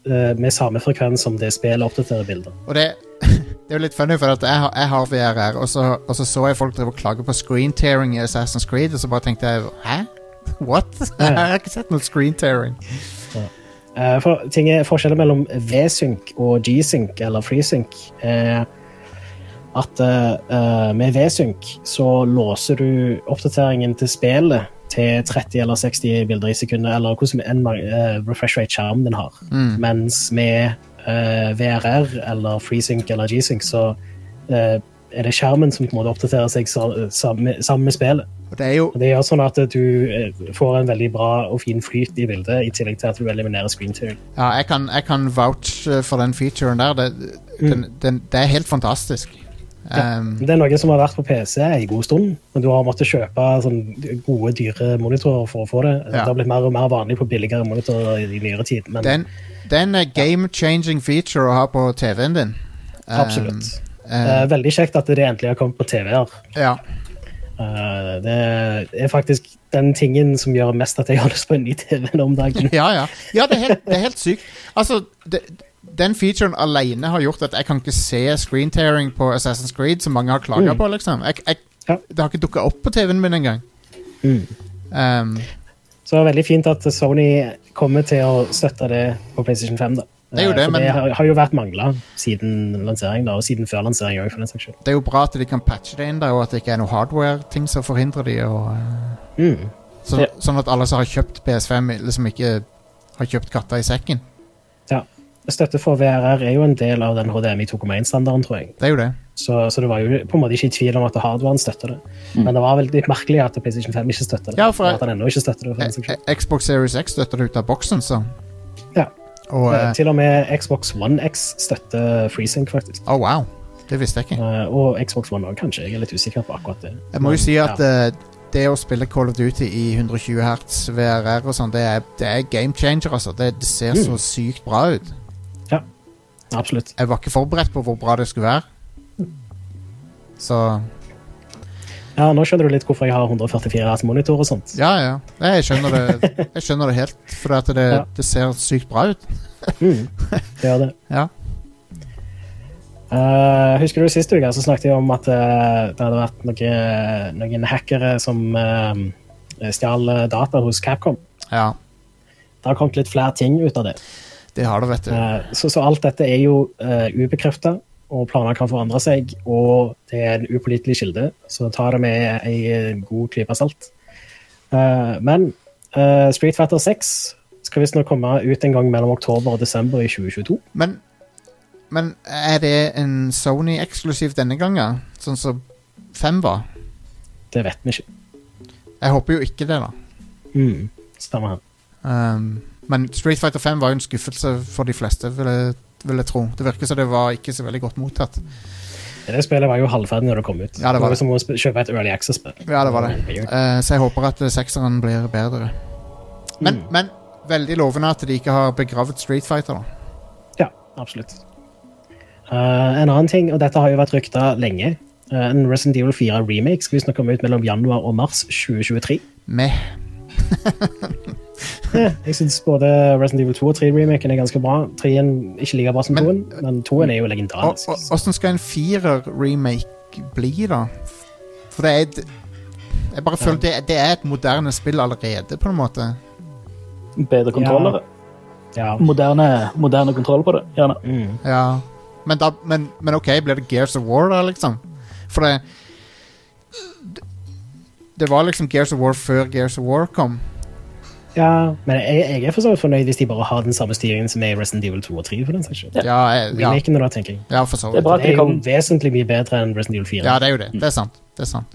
S2: eh, med samme frekvens som det spillet oppdaterer bilder.
S1: Og det, [LAUGHS] det er jo litt funny, for at jeg har, jeg har VRR, og så, og så så jeg folk drive og klage på screen tearing i Assassin's Creed, og så bare tenkte jeg Hæ? [LAUGHS] What? [LAUGHS] jeg har ikke sett noe screen tearing.
S2: Eh, for, ting er, forskjellen mellom V-sync og G-sync, eller FreeSync, er at eh, eh, med V-sync så låser du oppdateringen til spillet til 30 eller 60 bilder i sekundet, eller hvordan enn ma- eh, refresh rate-skjermen din har. Mens med eh, VRR eller FreeSync eller G-sync så eh, er det skjermen som på en måte oppdaterer seg sa- samme, samme spillet.
S1: Og det er jo
S2: Og Det gjør sånn at du eh, får en veldig bra og fin flyt i bildet, i tillegg til at du eliminerer screen tearing.
S1: Ja, jeg kan, jeg kan vouch eh, for den featuren der. Det,
S2: Mm.
S1: den, den, det er helt fantastisk. Um,
S2: Det er noe som har vært på PC i god stund, men du har måttet kjøpe sånn, gode, dyre monitorer for å få det.
S1: Ja.
S2: Det har blitt mer og mer vanlig på billigere monitorer i nyere tid, men
S1: den, den er game-changing feature å ha på TV-en din. Um,
S2: absolutt.
S1: eh,
S2: Eh, veldig kjekt at det endelig har kommet på TV-er.
S1: ja.
S2: Eh, det er faktisk den tingen som gjør mest at jeg har lyst på en ny TV nå om
S1: [LAUGHS]
S2: dagen.
S1: ja, ja. Ja, det er helt, det er helt sykt. Altså, det, den featuren alene har gjort at jeg kan ikke se screen tearing på Assassin's Creed, som mange har klaga på, liksom. Jeg, jeg,
S2: Mm. Ja.
S1: Det har ikke dukka opp på TV-en min engang.
S2: Mm.
S1: Um,
S2: Så det er veldig fint at Sony kommer til å støtte det på PlayStation 5. da.
S1: Det er jo
S2: Eh,
S1: det,
S2: for
S1: men-
S2: det har, har jo vært mangla siden lansering, da, og siden før lansering òg, for den saks skyld.
S1: det er jo bra at de kan patche det inn, der, og at det ikke er noe hardware-ting som forhindrer de å eh,
S2: Mm.
S1: så,
S3: Ja.
S1: Sånn at alle som har kjøpt PS5, liksom ikke har kjøpt katta i sekken.
S2: Ja. Støtte for VRR er jo en del av den HDMI 2,1-standarden, tror jeg.
S1: Det er jo det.
S2: Så, så det var jo på en måte ikke i tvil om at hardwaren støtter det. Men det var veldig litt merkelig at PlayStation 5 ikke støtter det.
S1: Mm. Ja, for-
S2: og at den ennå ikke støtter det. For den
S1: E-
S2: saks skyld.
S1: e- Xbox Series X støtter det ut av boksen, så.
S2: Ja.
S1: Og
S2: Eh,
S1: eh,
S2: Til og med Xbox One X støtter FreeSync, faktisk.
S1: Oh, wow. Det visste jeg ikke.
S2: Eh, Og Xbox One òg, kanskje. Jeg er litt usikker på akkurat det.
S1: Jeg må jo
S2: Men,
S1: si at
S2: ja.
S1: eh, det å spille Call of Duty i 120 hertz VRR og sånn, det, er- det er game changer, altså. Det, det ser så
S2: Mm.
S1: sykt bra ut.
S2: Absolutt.
S1: Jeg var ikke forberedt på hvor bra det skulle være. Så
S2: Ja, nå skjønner du litt hvorfor jeg har 144 Hz monitor og sånt.
S1: Ja, ja. Nei, Jeg skjønner det, jeg skjønner det helt, for at det,
S2: Ja.
S1: det ser sykt bra ut.
S2: Mm. Det gjør det.
S1: Ja.
S2: Eh, husker du sist uke så snakket jeg om at eh, det hadde vært noen, noen hackere som eh, stjal data hos Capcom?
S1: ja.
S2: Det har kommet litt flere ting ut av det.
S1: Det har det, vet du.
S2: Eh, så, så alt dette er jo uh, ubekrefta, og planer kan forandre seg, og det er en upålitelig kilde, så ta det med ei eh, god klype salt. Eh, men eh, Street Fighter 6 skal visstnok komme ut en gang mellom oktober og desember i 2022.
S1: Men, men er det en Sony-eksklusiv denne gangen? Sånn som 5 var?
S2: Det vet vi ikke.
S1: Jeg håper jo ikke det, da.
S2: Mm. Stemmer her.
S1: Um, men Street Fighter 5 var jo en skuffelse for de fleste, vil jeg, vil jeg tro. Det virker som det var ikke så veldig godt mottatt.
S2: Det spillet var jo halvferdig når det kom ut.
S1: Ja, det var det.
S2: som å sp- kjøpe et Early Access-spill.
S1: Ja, det var det.
S2: Det er jo-
S1: Eh, så jeg håper at eh, sekseren blir bedre. Men,
S2: Mm.
S1: men veldig lovende at de ikke har begravd Street Fighter, da.
S2: Ja, absolutt. Eh, en annen ting, og dette har jo vært rykta lenge, eh, en Resident Evil 4 remake skal visstnok komme ut mellom januar og mars [LAUGHS] 2023.
S1: Meh.
S2: Eh, Jeg syns både Resident Evil 2 og 3-remaken er ganske bra. 3-en ikke like bra som
S1: Men-
S2: 2-en, men 2-en er jo
S1: Og-
S2: legendarisk.
S1: og- Åssen skal en firer-remake bli, da? For det er et Jeg bare føler det, det er et moderne spill allerede, på en måte.
S3: Bedre kontrollere.
S2: Ja.
S3: Moderne, moderne kontroll på det, gjerne.
S2: Mm.
S1: Ja. Men, da, men, men OK, blir det Gears of War, da, liksom? For det Det var liksom Gears of War før Gears of War kom.
S2: ja, men jeg, jeg er for så vidt fornøyd hvis de bare har den samme styringen som er i Resident Evil 2 og 3. for den saks skyld.
S3: Ja.
S1: Ja, jeg- ja,
S2: Remakene, da, tenker jeg.
S1: ja for så
S3: Det er
S1: vidt.
S3: bra at
S2: Det
S3: de
S2: er jo
S3: kom,
S2: vesentlig mye bedre enn Resident Evil 4.
S1: Ja, det er jo det. Det er sant. Det er sant.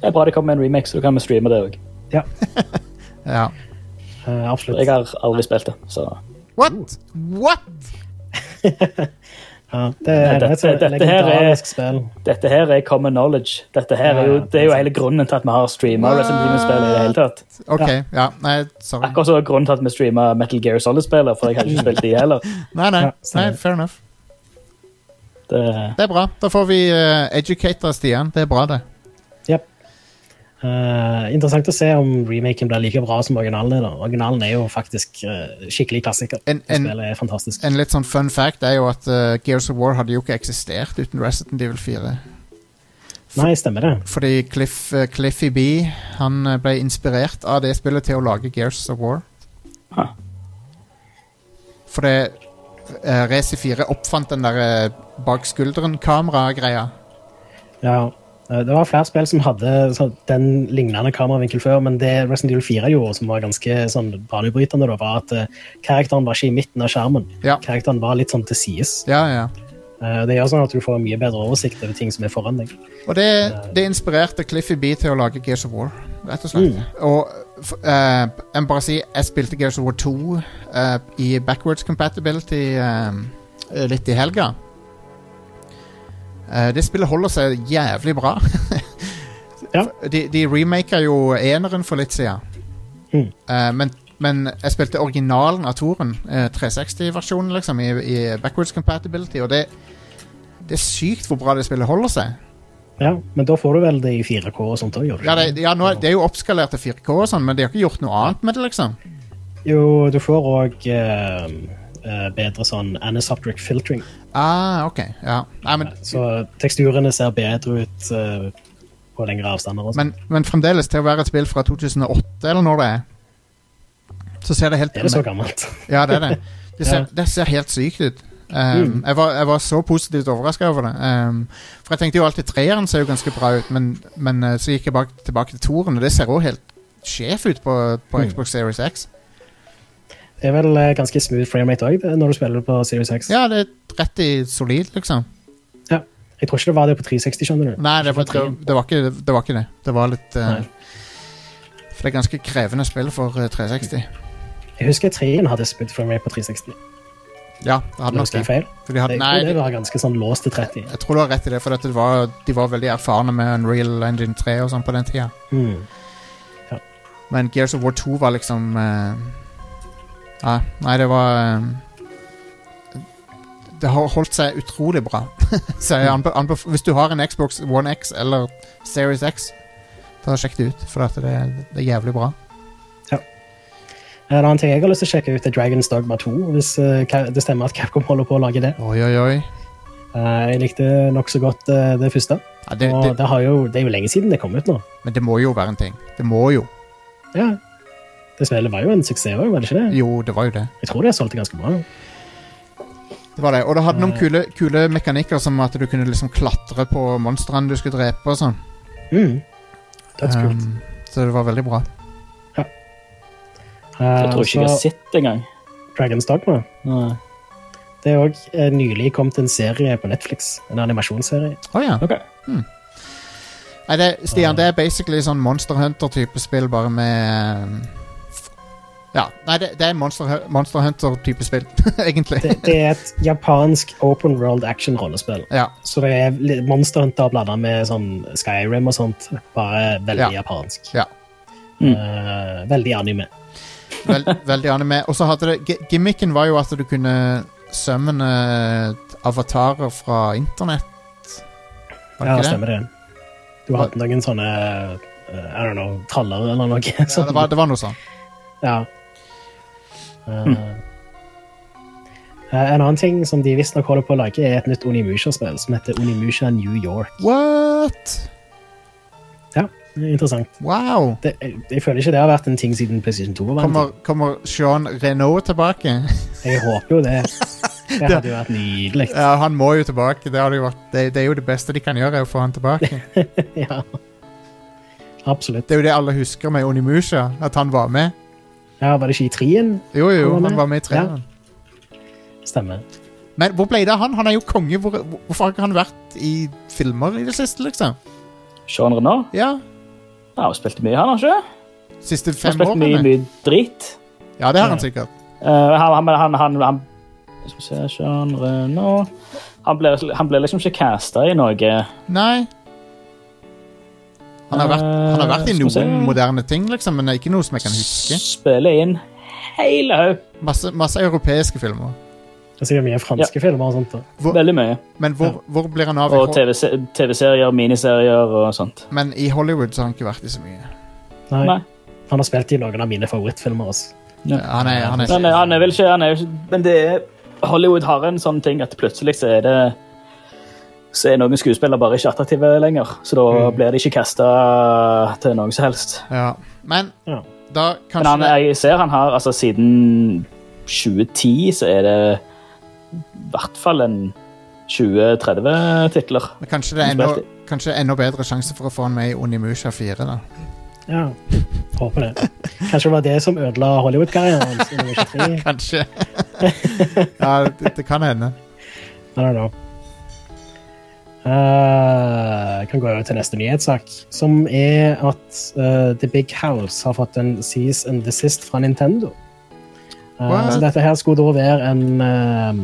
S3: det er bra de kom med en remake, så da kan vi streame det òg.
S1: Ja.
S2: Eh, absolutt.
S3: Jeg har aldri spilt det, så
S1: What?! What?!
S2: Ja, det er
S3: Nei,
S2: et sånt
S3: dette- dette her er-
S2: legendarisk spill.
S3: dette her er common knowledge. Dette her er jo,
S2: Ja, ja,
S3: det er jo hele grunnen til at vi har streama Resident Evil-spill i det hele tatt.
S1: OK. Ja, nei, sorry.
S3: Akkurat som grunnen til at vi streama Metal Gear Solid-spiller, for jeg hadde ikke spilt de heller.
S1: Nei, nei,
S2: Ja,
S1: nei.
S2: stemmer.
S1: Fair enough.
S3: Det,
S1: Det er bra. Da får vi uh, educata oss igjen. Det er bra, det.
S2: Jep. Eh, interessant å se om remaken blir like bra som originalen. er Da. Originalen er jo faktisk eh, skikkelig klassiker.
S1: En-
S2: Det
S1: en-
S2: Spillet er fantastisk.
S1: En litt sånn fun fact er jo at eh, Gears of War hadde jo ikke eksistert uten Resident Evil 4.
S2: Nei, stemmer det.
S1: Fordi Cliff, eh, Cliffy B Han eh, ble inspirert av det spillet til å lage Gears of War.
S3: Huh.
S1: For det uh, Race 4 oppfant den der eh, bak skulderen-kamera-greia.
S2: Ja. Eh, Det var flere spill som hadde sånn, den lignende kameravinkel før, men det Resident Evil 4 gjorde, som var ganske sånn, banebrytende, da, var at eh, karakteren var ikke i midten av skjermen.
S1: Ja.
S2: Karakteren var litt sånn til sides.
S1: Ja, ja.
S2: Eh, Det gjør sånn at du får en mye bedre oversikt over ting som er foran deg.
S1: Og det, det inspirerte Cliffy B til å lage Gears of War, rett og slett.
S2: Mm.
S1: Og f- eh, jeg må bare si, jeg spilte Gears of War 2 eh, i backwards compatibility eh, litt i helga. Eh, det spillet holder seg jævlig bra.
S2: [LAUGHS] Ja.
S1: De, de remaker jo eneren for litt siden.
S2: Mm.
S1: Eh, men, men jeg spilte originalen av Toren, eh, 360-versjonen, liksom, i, i backwards compatibility, og det, det er sykt hvor bra det spillet holder seg.
S2: Ja, Men da får du vel det i 4K og sånt òg, gjør du
S1: Ja,
S2: ikke?
S1: det, ja nå er, det er jo oppskalert til 4K og sånn, men de har ikke gjort noe annet med det, liksom.
S2: Jo, du får òg bedre sånn anisoptric filtering.
S1: Ah, ok, ja. Nei, men,
S2: Så teksturene ser bedre ut eh, på lengre avstander. Og sånt.
S1: men, men fremdeles, til å være et spill fra 2008, eller når det er, så ser det helt
S2: er det så gammelt?
S1: Ja, det er det. Det ser,
S2: [LAUGHS] Ja. Mm.
S1: det ser helt sykt ut. Um, jeg, var, jeg var så positivt overraska over det. Um, for jeg tenkte jo alltid treeren ser jo ganske bra ut, men, men uh, så gikk jeg bak, tilbake til toeren, og det ser òg helt sjef ut på, på
S2: Mm.
S1: Xbox Series X.
S2: Det er vel eh, ganske smooth framerate òg når du spiller på Series X.
S1: Ja, det er rett i solid, liksom.
S2: Ja. Jeg tror ikke det var det på 360, skjønner du.
S1: Nei, det var, det, det, var ikke, det var ikke det. Det var litt eh,
S2: Nei.
S1: For det er ganske krevende spill for eh, 360.
S2: Jeg husker 3-en hadde smooth framerate på 360.
S1: Ja, det hadde nok
S2: Husker
S1: det.
S2: jeg feil?
S1: For de hadde,
S2: Jeg
S1: nei,
S2: tror det
S1: de,
S2: var ganske sånn låst til 30.
S1: jeg tror du har rett i det, for at det var, de var veldig erfarne med Unreal Engine 3 og sånn på den tida.
S2: Mm.
S1: Men Gears of War 2 var liksom eh, ja, Nei, det var eh, Det har holdt seg utrolig bra. [LAUGHS] Så jeg anbe anbef Hvis du har en Xbox One X eller Series X, da sjekk det ut, for at det, det er jævlig bra.
S2: Eh, En annen ting jeg har lyst til å sjekke ut, er Dragons Dogma 2. Hvis eh, Ca- det stemmer at Capcom holder på å lage det.
S1: Oi, oi, oi.
S2: Eh, jeg likte nokså godt eh, det første.
S1: Ja, det,
S2: og
S1: det,
S2: det, har jo, det er jo lenge siden det kom ut nå.
S1: Men det må jo være en ting. Det må jo.
S2: Ja. Det spillet var jo en suksess, var det ikke det?
S1: Jo, det var jo det.
S2: Jeg tror det solgte ganske bra.
S1: Det var det. Og det hadde
S2: Mm.
S1: noen kule, kule mekanikker som at du kunne liksom klatre på monstrene du skulle drepe og sånn.
S2: Mm. Dødskult.
S1: Um, så det var veldig bra.
S3: Jeg tror ikke jeg har
S2: Uh, så
S3: sett det engang.
S2: Dragons Dogma
S3: Nei.
S2: Det er òg nylig kommet en serie på Netflix. En animasjonsserie.
S1: Å ja.
S3: Ok.
S1: Nei, det, Stian, det er basically sånn Monster Hunter-type spill, bare med um, Ja. Nei, det, det er Monster, Hu- Monster Hunter-type spill, [LAUGHS] egentlig.
S2: Det, det
S1: [LAUGHS]
S2: er et japansk open world action-rollespill.
S1: Ja.
S2: Så det er litt Monster Hunter blanda med sånn Skyrim og sånt. Bare veldig japansk.
S1: Ja.
S3: Mm.
S2: Eh, veldig anime.
S1: Vel, veldig anime. Og så hadde det gi- Gimmicken var jo at du kunne summone avatarer fra internett. Var
S2: Ja,
S1: ikke det?
S2: stemmer det. Du har hatt noen sånne eh, I don't know, traller eller noe.
S1: Ja, det, var, det var noe sånn.
S2: Ja. Eh, eh, En annen ting som de visstnok holder på å lage, er et nytt Onimusha-spill som heter Onimusha New York.
S1: What?
S2: Ja, det er interessant.
S1: Wow.
S2: Det, jeg, jeg føler ikke det har vært en ting siden PlayStation 2. var en
S1: Kommer,
S2: ting.
S1: kommer Sean Renault tilbake?
S2: Jeg håper jo det. Det hadde jo vært nydelig.
S1: ja, han må jo tilbake. Det, har det, jo vært, det, det er jo det beste de kan gjøre, er å få han tilbake.
S2: [LAUGHS] Ja. Absolutt.
S1: Det er jo det alle husker med Onimusha, at han var med.
S2: Ja, var det ikke i trien?
S1: Jo, jo,
S2: Han
S1: han
S2: var med.
S1: var med i treeren.
S2: Stemmer.
S1: Men hvor ble det av han? Han er jo konge. Hvor, hvorfor har ikke han vært i filmer i det siste, liksom?
S3: Sean Renaud?
S1: Ja,
S3: Ja, han spilte mye, han, har han ikke?
S1: Siste
S3: Han
S1: fem
S3: spilte mye,
S1: årene.
S3: mye dritt.
S1: Ja, det har han sikkert.
S3: Eh, han, han, han, han, han Skal vi se Sean Renaud Han ble, han ble liksom ikke casta i noe.
S1: Nei. Han har vært, han har vært i
S3: Eh, skal vi
S1: noen
S3: se.
S1: moderne ting, liksom, men det er ikke noe som jeg kan huske.
S3: Spiller inn hele haug.
S1: Masse, masse europeiske filmer.
S2: Det er sikkert mye franske filmer og sånt. da.
S3: Veldig mye.
S1: Men hvor, hvor blir han av? i
S3: Og
S1: Hol-
S3: TV-se- TV-serier, miniserier og sånt.
S1: Men i Hollywood så har han ikke vært i så mye.
S2: Nei.
S3: Nei.
S2: Han har spilt i noen av mine favorittfilmer. Også.
S1: Han er, han er,
S3: Han er, eh, han er vel ikke, han er jo ikke Men det er, Hollywood har en sånn ting at plutselig så er det så er noen skuespillere bare ikke attraktive lenger. Så da blir de ikke kasta til noe som helst.
S1: ja. Men
S2: Ja.
S1: da
S3: Men
S1: kanskje
S3: han, jeg ser han har altså siden 2010 så er det i hvert fall en 20-30 titler.
S1: det, kanskje det er
S3: Han
S1: enda,
S3: spilte-
S1: kanskje det er enda bedre sjanse for å få han med i Onimusha 4. da [LAUGHS]
S2: Ja, håper det. Kanskje det var det som ødela Hollywood-karrieren hans. i 93.
S3: [LAUGHS]
S1: Kanskje. ja, det, det kan hende.
S2: I don't know. Eh, Jeg kan gå over til neste nyhetssak, som er at eh, The Big House har fått en cease and desist fra Nintendo. Eh,
S1: What?
S2: så dette her skulle da være en eh,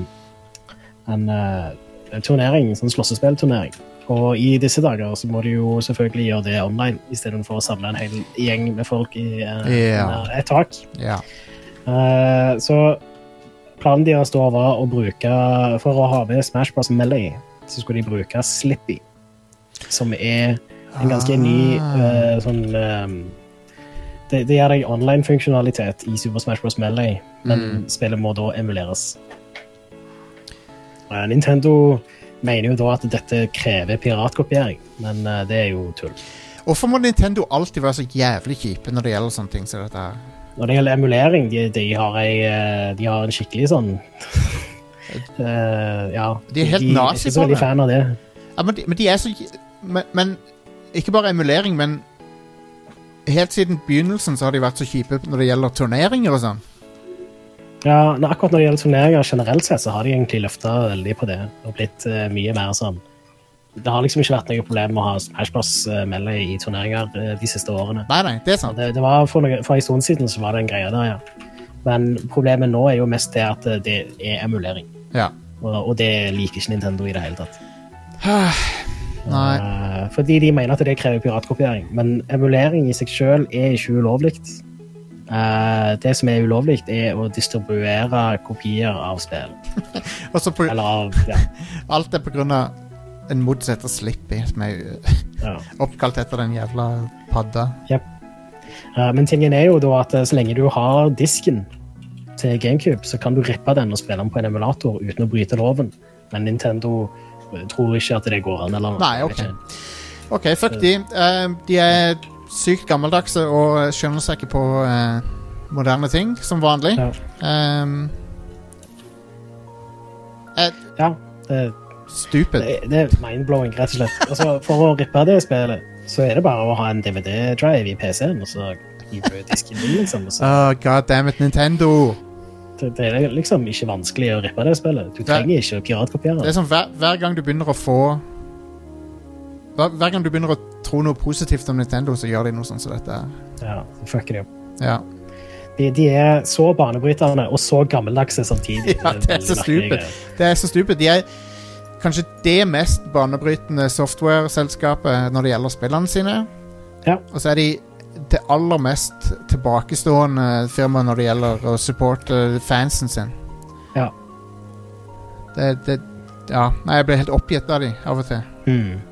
S2: en eh, turnering, en sånn slåssespillturnering. Og i disse dager så må du jo selvfølgelig gjøre det online, istedenfor å samle en hel gjeng med folk i eh,
S1: Ja.
S2: et tak.
S1: Ja.
S2: Eh, så planen deres da var å bruke For å ha med Smash Bros. Melee, så skulle de bruke Slippy. Som er en ganske ny eh, sånn eh, det, det gir deg online-funksjonalitet i Super Smash Bros. Melee, men spillet må da emuleres. Eh, Nintendo mener jo da at dette krever piratkopiering, men eh, det er jo tull.
S1: Hvorfor må Nintendo alltid være så jævlig kjipe når det gjelder sånne ting som dette her?
S2: Når det gjelder emulering, de, de, har, ei, eh, de har en skikkelig
S1: [LAUGHS]
S2: sånn Eh, Ja.
S1: De er helt nazi
S2: er ikke
S1: på
S2: så veldig
S1: det.
S2: fan av det.
S1: Ja, men, de, men de er så j- men, men ikke bare emulering, men Helt siden begynnelsen så har de vært så kjipe når det gjelder turneringer og sånn.
S2: Ja, nei, akkurat når det gjelder turneringer generelt sett, så har de egentlig løfta veldig på det. Og blitt eh, mye mer sånn Det har liksom ikke vært noe problem å ha Smash Bros. eh, Melee i turneringer eh, de siste årene.
S1: Nei, nei, det er sant.
S2: Det, det var for, noe, for en stund siden så var det en greie der, ja. Men problemet nå er jo mest det at eh, det er emulering.
S1: Ja.
S2: Og, og det liker ikke Nintendo i det hele tatt.
S1: [SIGHS] Nei.
S2: Eh, Fordi de mener at det krever piratkopiering. Men emulering i seg sjøl er ikke ulovlig. Eh, det som er ulovlig, er å distribuere kopier av spill.
S1: Og så på,
S2: Eller av ja,
S1: alt er på grunn av en mod som heter Slippy, som er
S2: ja.
S1: [LAUGHS] oppkalt etter den jævla padda.
S2: Eh, Men tingen er jo da at eh, så lenge du har disken til GameCube, så kan du rippe den og spille den på en emulator uten å bryte loven. Men Nintendo eh, tror ikke at det går an. Eller,
S1: Nei,
S2: jeg
S1: ok.
S2: vet ikke.
S1: OK, fuck de. Eh, de er sykt gammeldagse og skjønner seg ikke på eh, moderne ting, som vanlig.
S2: Ja.
S1: Um, eh,
S2: Ja, det,
S1: stupid.
S2: det, det er mindblowing, rett og slett. Altså, for å rippe det spillet, så er det bare å ha en DVD-drive i PC-en, og så hiver du disken din, liksom. Og så,
S1: Oh, God damn it, Nintendo!
S2: det, det er liksom ikke vanskelig å rippe det spillet. Du trenger ikke å piratkopiere.
S1: Det er
S2: det.
S1: sånn hver, hver gang du begynner å få hver, hver gang du begynner å tro noe positivt om Nintendo, så gjør de noe sånn som dette. her.
S2: Ja, så fucker det opp.
S1: Ja.
S2: De, de er så banebryterne og så gammeldagse samtidig.
S1: ja, det er så
S2: veldig merkelig
S1: stupid.
S2: greie.
S1: Det er så stupid. De er kanskje det mest banebrytende software-selskapet når det gjelder spillene sine.
S2: Ja.
S1: Og så er de det aller mest tilbakestående firmaet når det gjelder å supporte fansen sin.
S2: Ja.
S1: Det, det Ja. Nei, jeg blir helt oppgitt av de av og til. Mm.
S2: Hmm.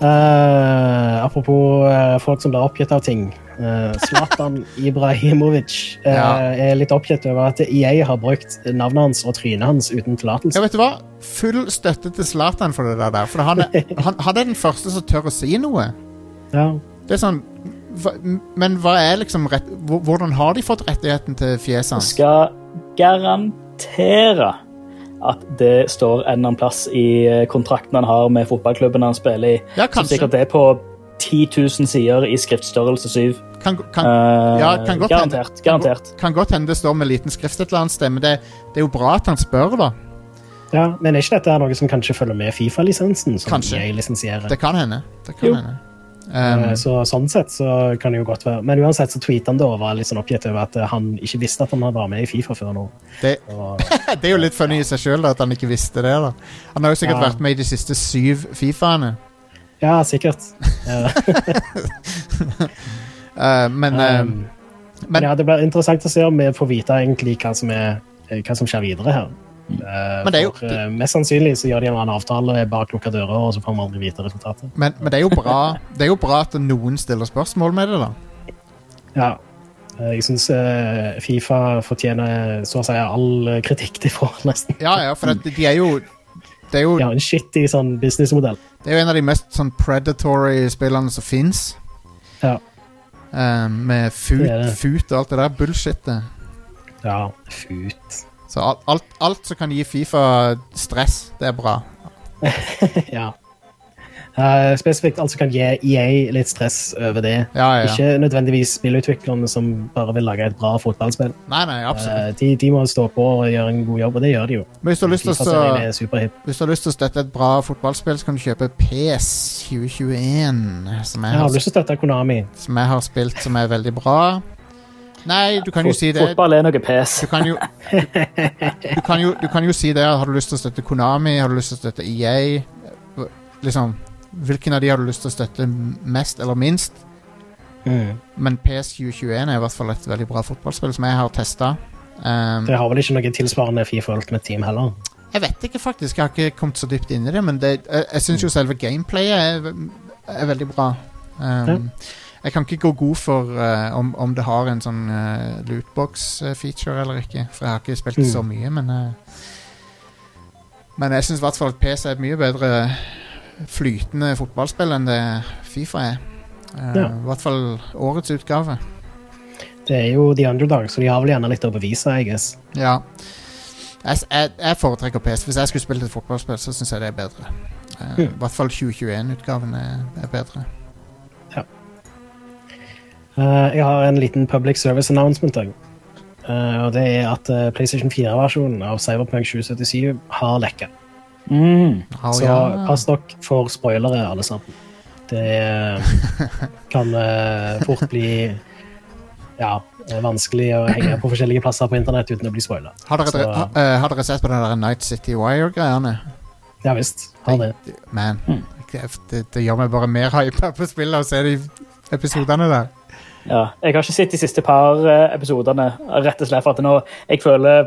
S2: Eh, apropos eh, folk som blir oppgitt av ting. Eh,
S1: [LAUGHS]
S2: Zlatan Ibrahimovic eh,
S1: Ja.
S2: er litt oppgitt over at EA har brukt navnet hans og trynet hans uten
S1: Ja,
S2: tillatelse.
S1: vet du hva? Full støtte til Zlatan for det der. For han
S2: [LAUGHS]
S1: er, han, han er den første som tør å si noe.
S2: Ja.
S1: Det er sånn hva, Men hva er liksom rett, hvor- Hvordan har de fått rettigheten til fjeset hans?
S3: skal garantere at det står en eller annen plass i eh, kontrakten han har med fotballklubben han spiller i.
S1: Ja,
S3: Som
S1: kanskje.
S3: sikkert er på 10 000 sider i skriftstørrelse 7.
S1: Kan, kan,
S3: Eh,
S1: ja, kan godt hende-
S3: garantert. garantert.
S1: kan godt hende det står med liten skrift et eller annet sted, men det, det er jo bra at han spør, da.
S2: ja, Men er ikke dette her noe som kanskje følger med Fifa-lisensen? som
S1: Kanskje.
S2: EA lisensierer?
S1: Det kan hende. Det kan
S3: Jo.
S1: hende. Um,
S2: Eh, Så sånn sett så kan det jo godt være Men uansett så tweetet han det og var litt sånn oppgitt over at eh, han ikke visste at han var med i Fifa før nå.
S1: det,
S2: Og
S1: [LAUGHS] det er jo litt funny i seg sjøl at han ikke visste det. da Han har jo sikkert
S2: Ja.
S1: vært med i de siste syv Fifaene.
S2: Ja, sikkert. Eh,
S1: Uh, men
S2: um,
S1: um,
S2: men ja, det blir interessant å se om vi får vite egentlig hva som, er, hva som skjer videre her. Eh,
S1: Mm. Men det er jo-
S2: for, eh, mest sannsynlig så gjør de en eller annen avtale bak lukka dører, og så får vi aldri vite resultatet.
S1: men, men det er jo bra Det er jo bra at noen stiller spørsmål med det, da.
S2: Ja. Eh, Jeg syns Fifa fortjener så å si all eh, kritikk de får, [LAUGHS] nesten.
S1: Ja, ja, for at de er jo det er jo,
S2: De har en shitty sånn businessmodell.
S1: det er jo en av de mest sånn predatory spillene som fins.
S2: Ja.
S1: med fut,
S2: Det er det.
S1: fut og alt det der bullshitet.
S2: ja. [LAUGHS] Fut.
S1: Så alt, alt, alt som kan gi Fifa stress, det er bra.
S2: ja. Eh, spesifikt alt som kan gi EA litt stress over det.
S1: Ja, ja, ja.
S2: Ikke nødvendigvis spillutviklerne som bare vil lage et bra fotballspill.
S1: Nei, nei, absolutt.
S2: Eh, de, de må stå på og gjøre en god jobb, og det gjør de jo.
S1: Men hvis du har lyst til å
S2: FIFA-serien er superhip.
S1: Hvis du har lyst til å støtte et bra fotballspill, så kan du kjøpe PS 2021, som jeg
S2: Jeg har
S1: har,
S2: lyst til å støtte Konami.
S1: som jeg har spilt, som er veldig bra. Nei, du kan jo
S3: Fot,
S1: si det.
S3: Fotball er noe pes.
S1: Du kan jo, du, du kan jo, du kan jo si det. Har du lyst til å støtte Konami? Har du lyst til å støtte EA? Hva- Liksom, hvilken av de har du lyst til å støtte mest eller minst?
S2: Mm.
S1: Men PS 2021 er i hvert fall et veldig bra fotballspill som jeg har testa. Um,
S2: Det har vel ikke noe tilsvarende Fifa Ultimate Team heller.
S1: Jeg vet ikke faktisk, jeg har ikke kommet så dypt inn i det, men det, jeg, jeg syns jo selve gameplayet er, ve- er veldig bra. Um, Jeg kan ikke gå god for eh, om, om det har en sånn eh, lootbox-feature eller ikke, for jeg har ikke spilt det så mye, men eh, Men jeg syns i hvert fall at PC er et mye bedre flytende fotballspill enn det Fifa er. Eh,
S2: Ja.
S1: I hvert fall årets utgave.
S2: Det er jo The Underdog, så de har vel gjerne litt å bevise, I guess.
S1: Ja. Jeg, jeg, jeg foretrekker PS. Hvis jeg skulle spilt et fotballspill, så syns jeg det er bedre. Eh, I
S2: Hmm.
S1: hvert fall 2021-utgaven er, er bedre.
S2: Eh, jeg har en liten public service announcement. da. Eh, og det er at eh, PlayStation 4-versjonen av Cyberpunk 2077 har lekka.
S3: Mm.
S1: Oh,
S2: så pass dere for spoilere, alle sammen. Det eh, kan eh, fort bli ja, eh, vanskelig å henge på forskjellige plasser på internett uten å bli spoila.
S1: Har, dere,
S2: så-
S1: ha- eh, har dere sett på den der Night City Wire-greiene?
S2: Ja visst. Har det. Hm.
S1: Man, det, det, det gjør meg bare mer [LAUGHS] hypa på spillet å se de episodene der.
S3: Ja. Jeg har ikke sett de siste par eh, episodene, rett og slett for at nå Jeg føler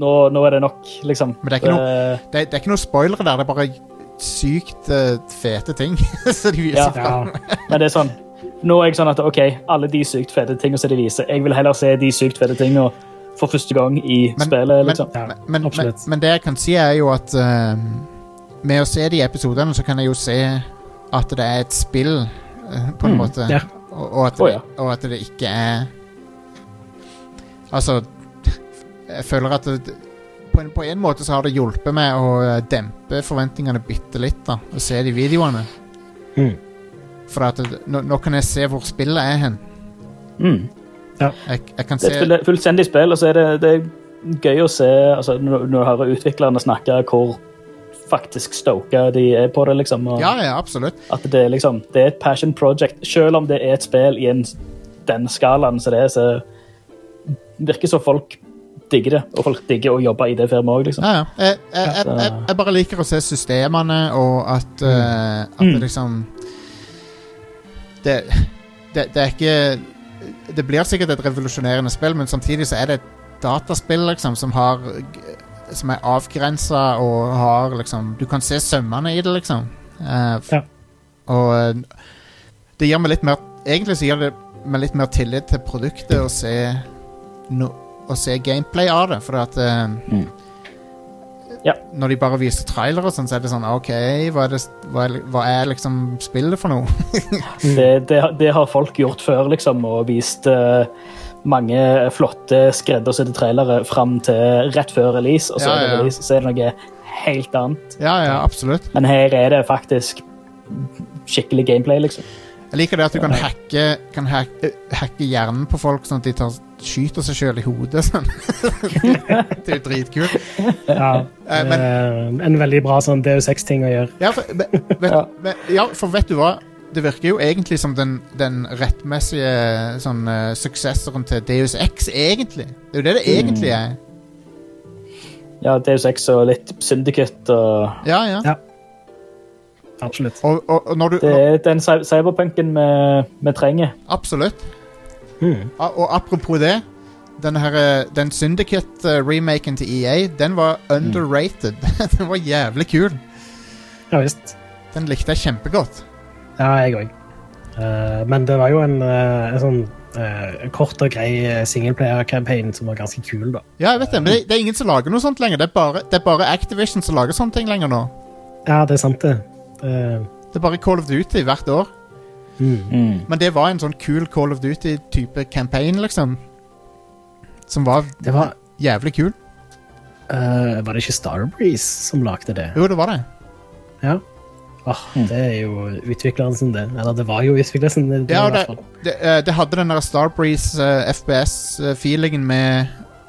S3: Nå, nå er det nok, liksom.
S1: Men det er ikke
S3: noe
S1: Det, det er ikke noe spoilere der, det er bare sykt eh, fete ting. [LAUGHS] så de viser
S3: Ja.
S1: fram.
S2: Ja,
S3: Men det er sånn Nå er jeg sånn at OK, alle de sykt fete tingene som de viser Jeg vil heller se de sykt fete tingene for første gang i
S1: Men-
S3: spillet,
S1: men-
S3: liksom.
S2: ja,
S1: men, men,
S2: absolutt.
S1: men det jeg kan si er jo at ehm, Med å se de episodene Så kan jeg jo se at det er et spill eh, På en måte
S2: ja.
S1: og, og, at det,
S3: Mm, Å, ja.
S1: og at det ikke er Altså Jeg føler at det, på, en, på en måte så har det hjulpet meg Å eh, dempe forventningene bitte litt da Å se de videoene
S2: Mm.
S1: For at det, nå, nå kan jeg se hvor spillet er hen
S3: Mm.
S1: Jeg, jeg kan
S3: Det er
S1: se
S3: et full- fullstendig spill, og så er det, det er gøy å se altså, når, når du hører utviklerne snakke hvor faktisk stoka de er på det, liksom. Og
S1: Ja, ja, absolutt
S3: At det er liksom Det er et passion project. Selv om det er et spill i en, den skalaen som det er, så virker som folk digger det. Og folk digger å jobbe i det firmaet òg, liksom.
S1: Ja, ja. Jeg, jeg, jeg, jeg, jeg bare liker å se systemene, og at, eh, at det liksom det, det, det er ikke Det blir sikkert et revolusjonerende spill, men samtidig så er det et dataspill liksom, som har Som er avgrensa og har liksom Du kan se sømmene i det, liksom. Eh, f-
S2: Ja.
S1: Og eh, det gir meg litt mer Egentlig så gir det meg litt mer tillit til produktet å se, no, å se gameplay av det, for at eh, når de bare viser trailer og sånn, så er det sånn OK, hva er, det, hva er, hva er liksom spillet for noe? [LAUGHS]
S3: Det, det, har- det har folk gjort før, liksom, og vist eh, mange flotte skreddersydde trailere fram til rett før release, og så,
S1: Ja,
S3: er det
S1: ja.
S3: Release, så er det noe helt annet.
S1: ja, ja, absolutt.
S3: Men her er det faktisk skikkelig gameplay, liksom.
S1: Jeg liker det at du kan hacke, kan hacke, hacke hjernen på folk sånn at de tar, skyter seg sjøl i hodet. [LAUGHS] Sånn. det er jo dritkult.
S2: ja.
S1: Eh, men-
S2: Eh, en veldig bra sånn DU6-ting å gjøre.
S1: Ja, for, men- vet,
S3: Ja.
S1: men- ja, for vet du hva? Det virker jo egentlig som den, den rettmessige sånn, eh, suksesseren til Deus X, egentlig. Det er jo det det
S3: Mm.
S1: egentlig er.
S3: Ja, Deus Ex og litt Syndicate og
S1: Ja, ja.
S2: Ja. Absolutt.
S1: Og, og, og når du
S3: Det er den cy- cyberpunken vi, vi trenger.
S1: Absolutt.
S2: Mm.
S1: A- Ah, Og apropos det den, her, eh, den Syndicate-remaken til EA, den var underrated. [LAUGHS] den var jævlig kul.
S2: Ja visst.
S1: Den likte jeg kjempegodt.
S2: Ja, jeg òg. Eh, men det var jo en, eh, en sånn eh, kort og grei singleplayer-campaign som var ganske kul, da.
S1: Ja, jeg vet det, men det, det er ingen som lager noe sånt lenger. Det er bare, det er bare Activision som lager sånne ting lenger nå.
S2: Ja, det er sant, det. Eh,
S1: Det er bare Call of Duty hvert år.
S2: mm.
S1: Men det var en sånn kul Call of Duty-type campaign, liksom. Som var
S2: Det var
S1: jævlig kul.
S2: eh, Var det ikke Starbreeze som lagde det?
S1: Jo, det var det.
S2: Ja. Åh,
S1: Mm.
S2: det er jo utvikleren sin, det. Eller det var jo utvikleren sin. Det,
S1: Ja,
S2: i
S1: og det,
S2: hvert fall.
S1: det, eh, det hadde den der Starbreeze eh, FPS-feelingen med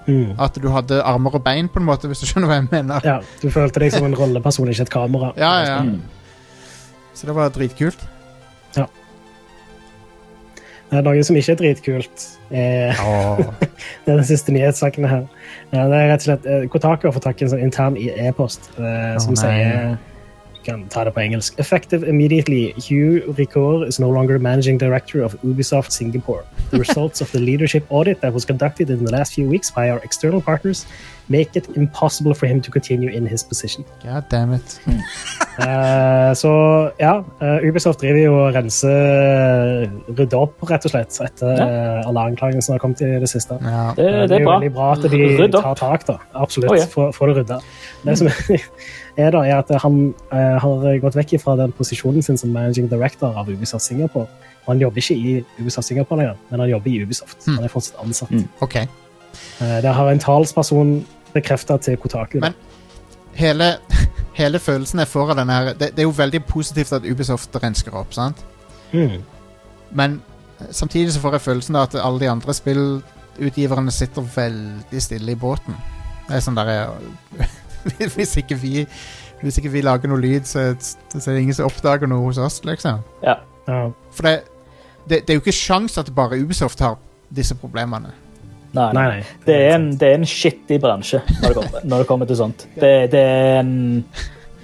S2: Mm.
S1: at du hadde armer og bein, på en måte, hvis du skjønner hva jeg mener.
S2: ja, du følte deg som en rolleperson, ikke et kamera.
S1: Ja, ja.
S3: Mm.
S1: Så det var dritkult.
S2: Eh, Noe som ikke er dritkult, er det er den siste nyhetssaken her. Eh, Det er rett og slett eh, Kotaku har fått tak i en sånn intern i- e-post eh, som
S1: nei.
S2: sier jeg kan ta det på engelsk. Effective immediately, Hugh Ricord is no longer managing director of Ubisoft Singapore. The results of the leadership audit that was conducted in the last few weeks by our external partners make it impossible for him to continue in his position.
S1: God damn it.
S2: Eh, så ja, eh, Ubisoft driver jo og renser eh, rydder opp, rett og slett, etter
S3: Ja.
S2: eh, alle anklagene som har kommet i det siste.
S1: Ja.
S3: Eh, Det, det er
S2: Eh, jo
S3: bra.
S2: veldig bra at de
S3: Rydd opp.
S2: tar tak, da. Absolutt.
S3: Å, ja.
S2: Få få det rydda. Det som [LAUGHS] er da, er at han eh, har gått vekk fra den posisjonen sin som managing director av Ubisoft Singapore. Og Han jobber ikke i Ubisoft Singapore lenger, men han jobber i Ubisoft. Han er fortsatt ansatt.
S3: Mm.
S1: OK.
S2: Eh, det har en talsperson bekrefta til Kotaku. da.
S1: Men- Hele, hele følelsen jeg får av den her det, det er jo veldig positivt at Ubisoft rensker opp, sant?
S2: Mm.
S1: Men eh, samtidig så får jeg følelsen av at alle de andre spillutgiverne sitter veldig stille i båten. Det er sånn der eh, [LAUGHS] Hvis ikke vi Hvis ikke vi lager noe lyd, så, så er det ingen som oppdager noe hos oss, liksom.
S3: Ja.
S2: Ja.
S1: For det, det, det er jo ikke sjans at bare Ubisoft har disse problemene.
S3: Nei,
S2: Nei,
S3: nei.
S2: nei.
S3: Det er en, det er en skittig bransje når det kommer, når det kommer til sånt. Det, det er en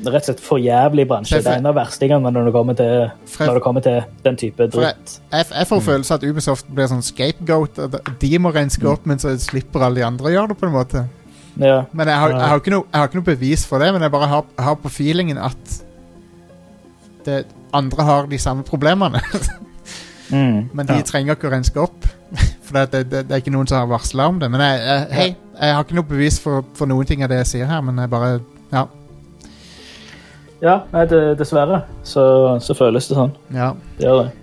S3: rett og slett for jævlig bransje.
S1: Det er for-
S3: Det er en av verstingene når det kommer til,
S1: For
S3: når
S1: jeg,
S3: det kommer til den type
S1: For-
S3: dritt.
S1: jeg, jeg
S2: Mm.
S1: får følelsen at Ubisoft blir sånn scapegoat. at De må
S2: Mm.
S1: renske opp, men så slipper alle de andre å gjøre det, på en måte.
S3: Ja.
S1: Men jeg har,
S2: Ja.
S1: jeg har, ikke, noe, jeg har ikke noe bevis for det, men jeg bare har, har på feelingen at det, andre har de samme problemene. [LAUGHS]
S3: Mm.
S1: Men de
S2: Ja. trenger
S1: trenger ikke å renske opp. [LAUGHS] For det, det, det er ikke noen som har varsla om det. Men jeg, jeg, hei, jeg har ikke noe bevis for, for noen ting av det jeg sier her, men jeg bare Ja.
S3: ja nei, det, dessverre så, så føles det sånn.
S1: ja.
S3: Det gjør det.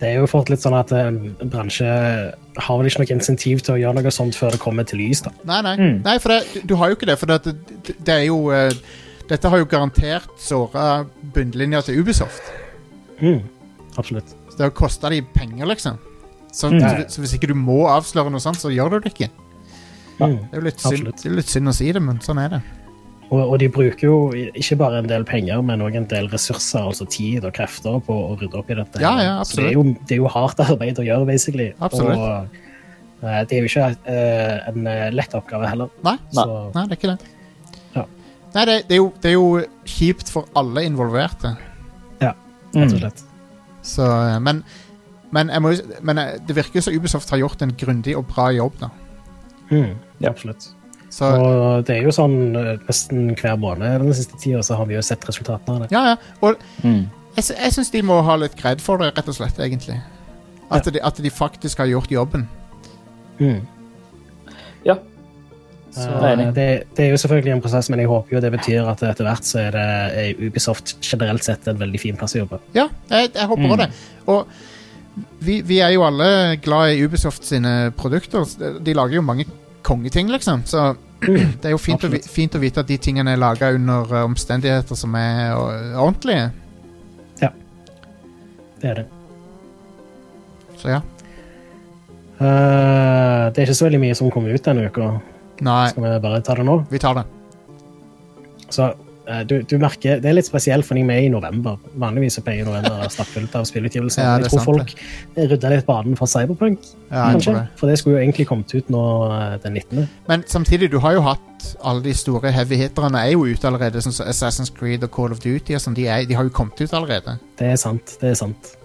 S2: Det er jo fort litt sånn at eh, en bransje har vel ikke noe insentiv til å gjøre noe sånt før det kommer til lys. da.
S1: Nei, nei.
S3: Mm.
S1: nei for det, du, du har jo ikke det. For det, det, det er jo eh, Dette har jo garantert såra bunnlinja til Ubisoft.
S2: Mm. Absolutt.
S1: Så det har kosta de penger, liksom. Så,
S3: Mm.
S1: så, så hvis ikke du må avsløre noe sånt, så gjør du det ikke. Det
S2: Mm.
S1: er jo litt synd,
S2: Absolutt.
S1: det er litt synd å si det, men sånn er det.
S2: Og, og de bruker jo i- ikke bare en del penger, men òg en del ressurser, altså tid og krefter, på å rydde opp i dette.
S1: Ja, ja,
S2: Så det er, jo, det er jo hardt [LAUGHS] arbeid å gjøre, basically.
S1: Absolutt.
S2: Og eh, det er jo ikke eh, en eh, lett oppgave heller.
S1: Nei,
S3: Nei.
S2: Så,
S1: nei det er ikke det.
S2: Ja.
S1: Nei, det, det, er jo, det er jo kjipt for alle involverte.
S2: rett og
S3: Mm.
S2: slett.
S1: Så, eh, men men, jeg må, jo s- men eh, det virker jo som Ubisoft har gjort en grundig og bra jobb, da.
S2: Mm.
S3: Ja.
S2: Absolutt.
S1: Så
S2: Og det er jo sånn eh, nesten hver måned den siste tida så har vi jo sett resultatene av det.
S1: ja, ja. Og
S3: Mm.
S1: jeg, s- jeg syns de må ha litt cred for det, rett og slett, egentlig. At, de, at de faktisk har gjort jobben.
S2: Mm.
S3: Ja.
S1: Så,
S2: Eh,
S3: Enig.
S2: det, det er jo selvfølgelig en prosess, men jeg håper jo det betyr at etter hvert så er det er Ubisoft generelt sett en veldig fin plass å jobbe.
S1: Ja, jeg, jeg håper
S3: Mm.
S1: også det. Og vi, vi er jo alle glad i Ubisoft sine produkter. De lager jo mange kongeting, liksom. Så det er jo fint, å, vi-
S2: Absolutt.
S1: fint å vite at de tingene er laga under eh, omstendigheter som er eh, ordentlige.
S2: Det er det.
S1: Så ja.
S2: Eh, det er ikke så veldig mye som kommer ut denne uka.
S1: Nei,
S2: Skal vi bare ta det nå?
S1: vi tar det.
S2: Så eh, du, du merker, Det er litt spesielt, for jeg er med i november. Vanligvis så pleier november å være stappfullt av spillutgivelser.
S1: Ja, det er
S2: jeg tror
S1: sant,
S2: folk rydda litt banen for Cyberpunk,
S1: Ja, jeg
S2: kanskje.
S1: tror det.
S2: For det skulle jo egentlig kommet ut nå eh, den 19.
S1: Men samtidig, du har jo hatt alle de store heavy hitterne er jo ute allerede. Sånn som Assassin's Creed og Call of Duty og sånn. De, er, de har jo kommet ut allerede.
S2: Det er sant. det er sant.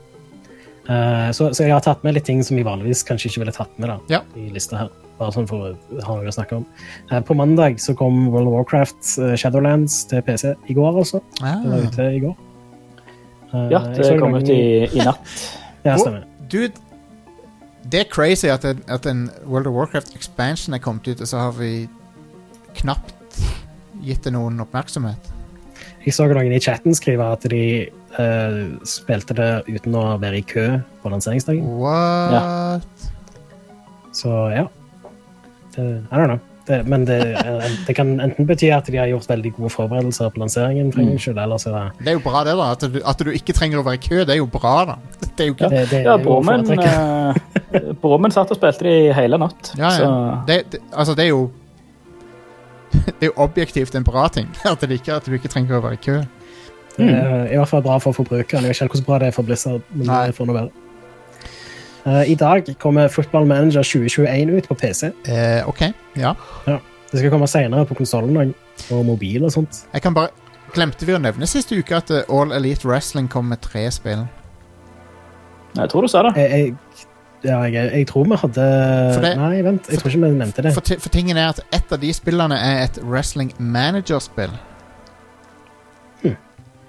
S2: Eh, så, så jeg har tatt med litt ting som jeg vanligvis kanskje ikke ville tatt med da,
S1: Ja.
S2: i lista her. Bare sånn for å ha noe å snakke om. Eh, på mandag så kom World of Warcraft eh, Shadowlands til PC. I går, altså.
S1: Ah.
S2: Det var ute i går. Eh,
S3: ja,
S2: jeg
S3: det
S2: så
S3: kom
S2: noen-
S3: ut i, i
S2: [LAUGHS]
S3: natt.
S2: Ja, stemmer.
S1: Dude, det er crazy at en, at en World of Warcraft expansion er kommet ut, og så har vi knapt gitt det noen oppmerksomhet.
S2: Jeg så noen i chatten skrive at de eh, spilte det uten å være i kø på lanseringsdagen.
S1: What?
S2: Så ja. Det- I don't know. Det, men det, eh, det kan enten bety at de har gjort veldig gode forberedelser på lanseringen,
S3: Mm.
S2: for ingen skyld, eller så er det
S1: Det er jo bra, det, da. At du, at du ikke trenger å være i kø, det er jo bra, da. Det er jo ikke
S2: det, det er
S3: Ja,
S2: jo å
S3: Bromen,
S2: foretrekke.
S3: eh, Bromen satt og spilte de hele natt.
S1: Ja, ja.
S3: Så
S1: Det, det, altså, det er jo [LAUGHS] Det er jo objektivt en bra ting. [LAUGHS] At, det ikke, at du ikke trenger å være i kø.
S3: eh, mm.
S2: Det er I hvert fall bra for forbrukeren. Jeg vet ikke helt hvordan bra det er for Blizzard. Men
S1: Nei.
S2: det får noe være. Eh, I dag kommer Football Manager 2021 ut på PC.
S1: Eh, OK. Ja.
S2: Det skal komme senere på konsollen og, og mobil og sånt.
S1: Jeg kan bare Glemte vi å nevne sist uke at eh, All Elite Wrestling kom med tre spill?
S3: jeg tror du sa det.
S2: Jeg, jeg, ja, jeg, jeg tror vi hadde
S1: For det-
S2: Nei, vent. Jeg
S1: for-
S2: tror ikke vi nevnte det.
S1: For, ti- for tingen er at ett av de spillene er et Wrestling Manager-spill.
S2: Hm.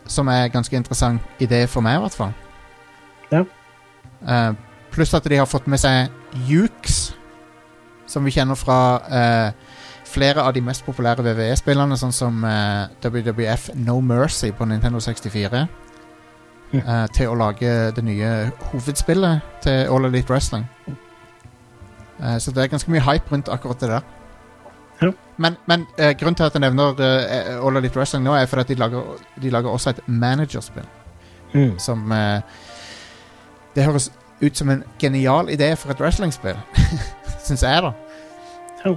S1: Som er ganske interessant idé for meg, i hvert fall.
S2: Ja.
S1: Eh, pluss at de har fått med seg Ukes, som vi kjenner fra eh, flere av de mest populære VVE-spillene, sånn som eh, WWF No Mercy på Nintendo 64,
S2: Hm.
S1: eh, til å lage det nye hovedspillet til All Elite Wrestling. Eh, Så det er ganske mye hype rundt akkurat det der.
S2: Ja.
S1: Men, men eh, grunnen til at jeg nevner eh, All Elite Wrestling nå, er for at de lager, de lager også et managerspill.
S2: Mm.
S1: Som eh, Det høres ut som en genial idé for et wrestlingspill. [LAUGHS] Syns jeg, da.
S2: Ja.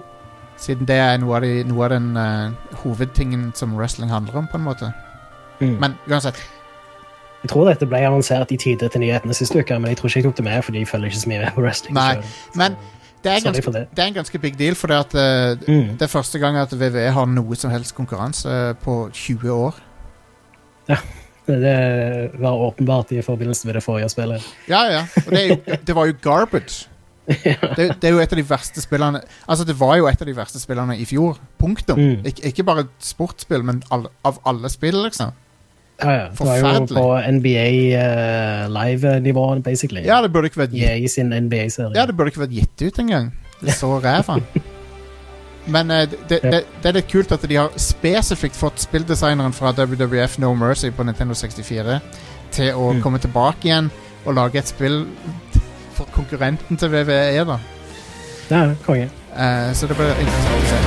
S1: Siden det er noe av, de, noe av den eh, hovedtingen som wrestling handler om, på en måte.
S2: Mm.
S1: Men uansett.
S2: Jeg tror dette ble annonsert i tide til nyhetene sist uke, men jeg tror ikke jeg tok det med, for de følger ikke så mye med på wrestling.
S1: Nei,
S2: selv.
S1: men det er,
S2: Sorry
S1: ganske,
S2: for det.
S1: det er en ganske big deal, for det, at, eh,
S2: Mm.
S1: det er første gang at VVE har noe som helst konkurranse eh, på 20 år.
S2: Det var åpenbart i forbindelse med det forrige spillet.
S1: Ja, ja. Og det, er jo, det var jo garbage. Det, det er jo et av de verste spillene Altså, det var jo et av de verste spillene i fjor. Punktum.
S2: Mm.
S1: Ik ikke bare et sportsspill, men all, av alle spill, liksom.
S2: Ja, ja. Det var jo
S1: Forferdelig.
S2: på NBA eh, live-nivået, basically.
S1: Ja, det burde ikke vært gitt,
S2: EA sin NBA-serie.
S1: ja, det burde ikke vært gitt ut engang. Det er så ræva. Men eh, det, det, det er litt kult at de har spesifikt fått spilldesigneren fra WWF No Mercy på Nintendo 64 til å
S2: Mm.
S1: komme tilbake igjen og lage et spill for konkurrenten til VVE, da.
S2: Ja, ja, konge.
S1: Eh, så det blir interessant å se.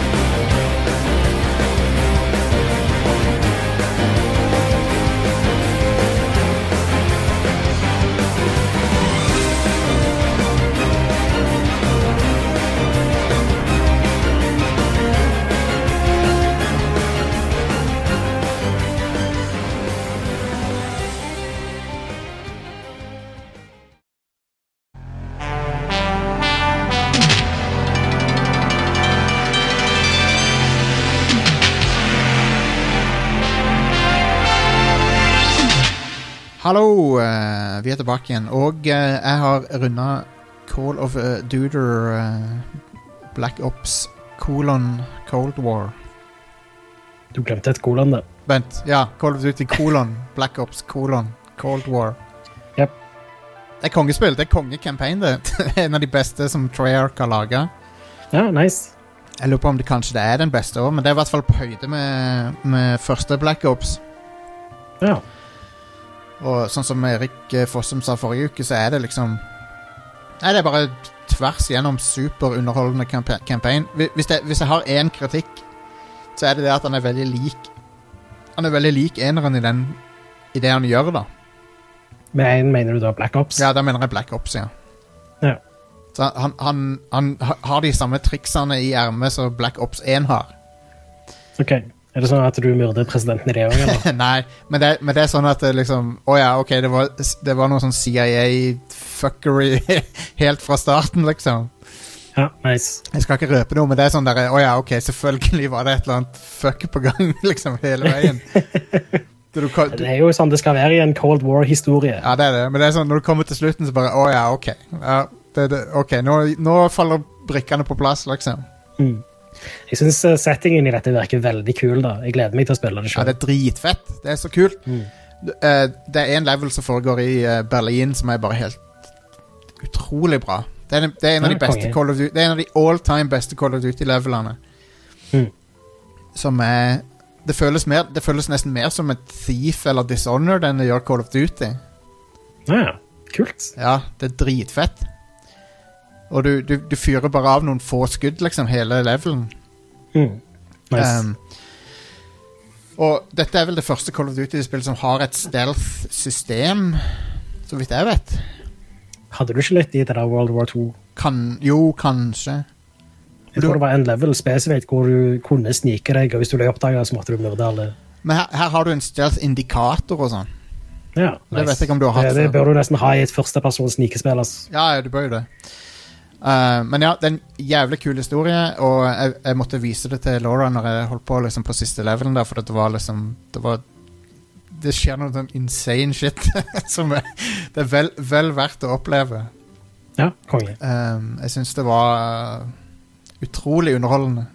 S1: Hallo, eh, vi er tilbake igjen. Og eh, jeg har runda Call of uh, Duder eh, Black Ops kolon Cold War.
S2: Du glemte et kolon, da.
S1: Vent, ja. Call of Duty kolon Black Ops kolon Cold War.
S2: Jep.
S1: Det er kongespill. Det er kongecampaign, det. [LAUGHS] Det er en av de beste som Treyarch har laga.
S2: Ja, nice.
S1: Jeg lurer på om det kanskje det er den beste òg, men det er i hvert fall på høyde med, med første Black Ops.
S2: Ja.
S1: Og sånn som Erik eh, Fossum sa forrige uke, så er det liksom Nei, det er bare tvers gjennom superunderholdende kampa- campaign. Hvi- Hvis, det, hvis jeg har én kritikk, så er det det at han er veldig lik Han er veldig lik eneren i, den, i det han gjør, da.
S2: Med en mener du da Black Ops?
S1: Ja, da mener jeg Black Ops, ja.
S2: Ja.
S1: Så han, han, han ha- har de samme triksene i ermet som Black Ops 1 har.
S2: Ok. Er det sånn at du myrder presidenten i det òg, eller?
S1: [LAUGHS] Nei, men det, men det er sånn at det liksom Å ja, ok, det var, det var noe sånn CIA-fuckery [LAUGHS] helt fra starten, liksom.
S2: Ja, nice.
S1: Jeg skal ikke røpe noe, men det er sånn der Å ja, ok, selvfølgelig var det et eller annet fuck på gang, [LAUGHS] liksom, hele veien. Så Du, kan- du,
S2: Det er jo sånn det skal være i en Cold War-historie.
S1: ja, det er det, men det er sånn når du kommer til slutten, så bare Å ja, ok. Ja, det, det, ok, nå, nå faller brikkene på plass, liksom.
S2: Mm. Jeg syns settingen i dette virker veldig kul, da. Jeg gleder meg til å spille det
S1: Ja,
S2: sjøl.
S1: det er dritfett. Det er så kult.
S2: Mm.
S1: Du, eh, det er en level som foregår i eh, Berlin som er bare helt utrolig bra. Det er, en- det er en av de
S2: Ja,
S1: beste
S2: konge.
S1: Call of Duty Det er en av de all time beste Call of Duty-levelene.
S2: Mm.
S1: Som er det føles, mer, det føles nesten mer som et Thief eller Dishonored enn det gjør Call of Duty.
S2: Ja, ja. Kult.
S1: Ja, det er dritfett. Og du, du, du fyrer bare av noen få skudd, liksom, hele levelen.
S2: Mm.
S1: Um,
S2: Nice.
S1: Ehm, og dette er vel det første Call of Duty-spillet som har et stealth-system, så vidt jeg vet.
S2: Hadde du ikke litt i det der World War 2?
S1: Kan Jo, kanskje.
S2: Jeg tror det var en level spesifikt hvor du kunne snike deg, og hvis du ble oppdaga, så måtte du myrde alle.
S1: Men her, her har du en stealth-indikator og sånn.
S2: Ja,
S1: Det vet jeg ikke om du har hatt
S2: det, det
S1: før.
S2: bør du nesten ha i et førstepersons snikespill. ass.
S1: Ja, ja, du bør jo det. Eh, men ja, det er en jævlig kul historie, og jeg, jeg måtte vise det til Laura når jeg holdt på liksom, på siste levelen der, for det var liksom Det var Det skjer noe sånn insane shit [LAUGHS] som er, det er vel, vel verdt å oppleve.
S2: Ja, konge.
S1: Um, jeg syns det var eh, utrolig underholdende.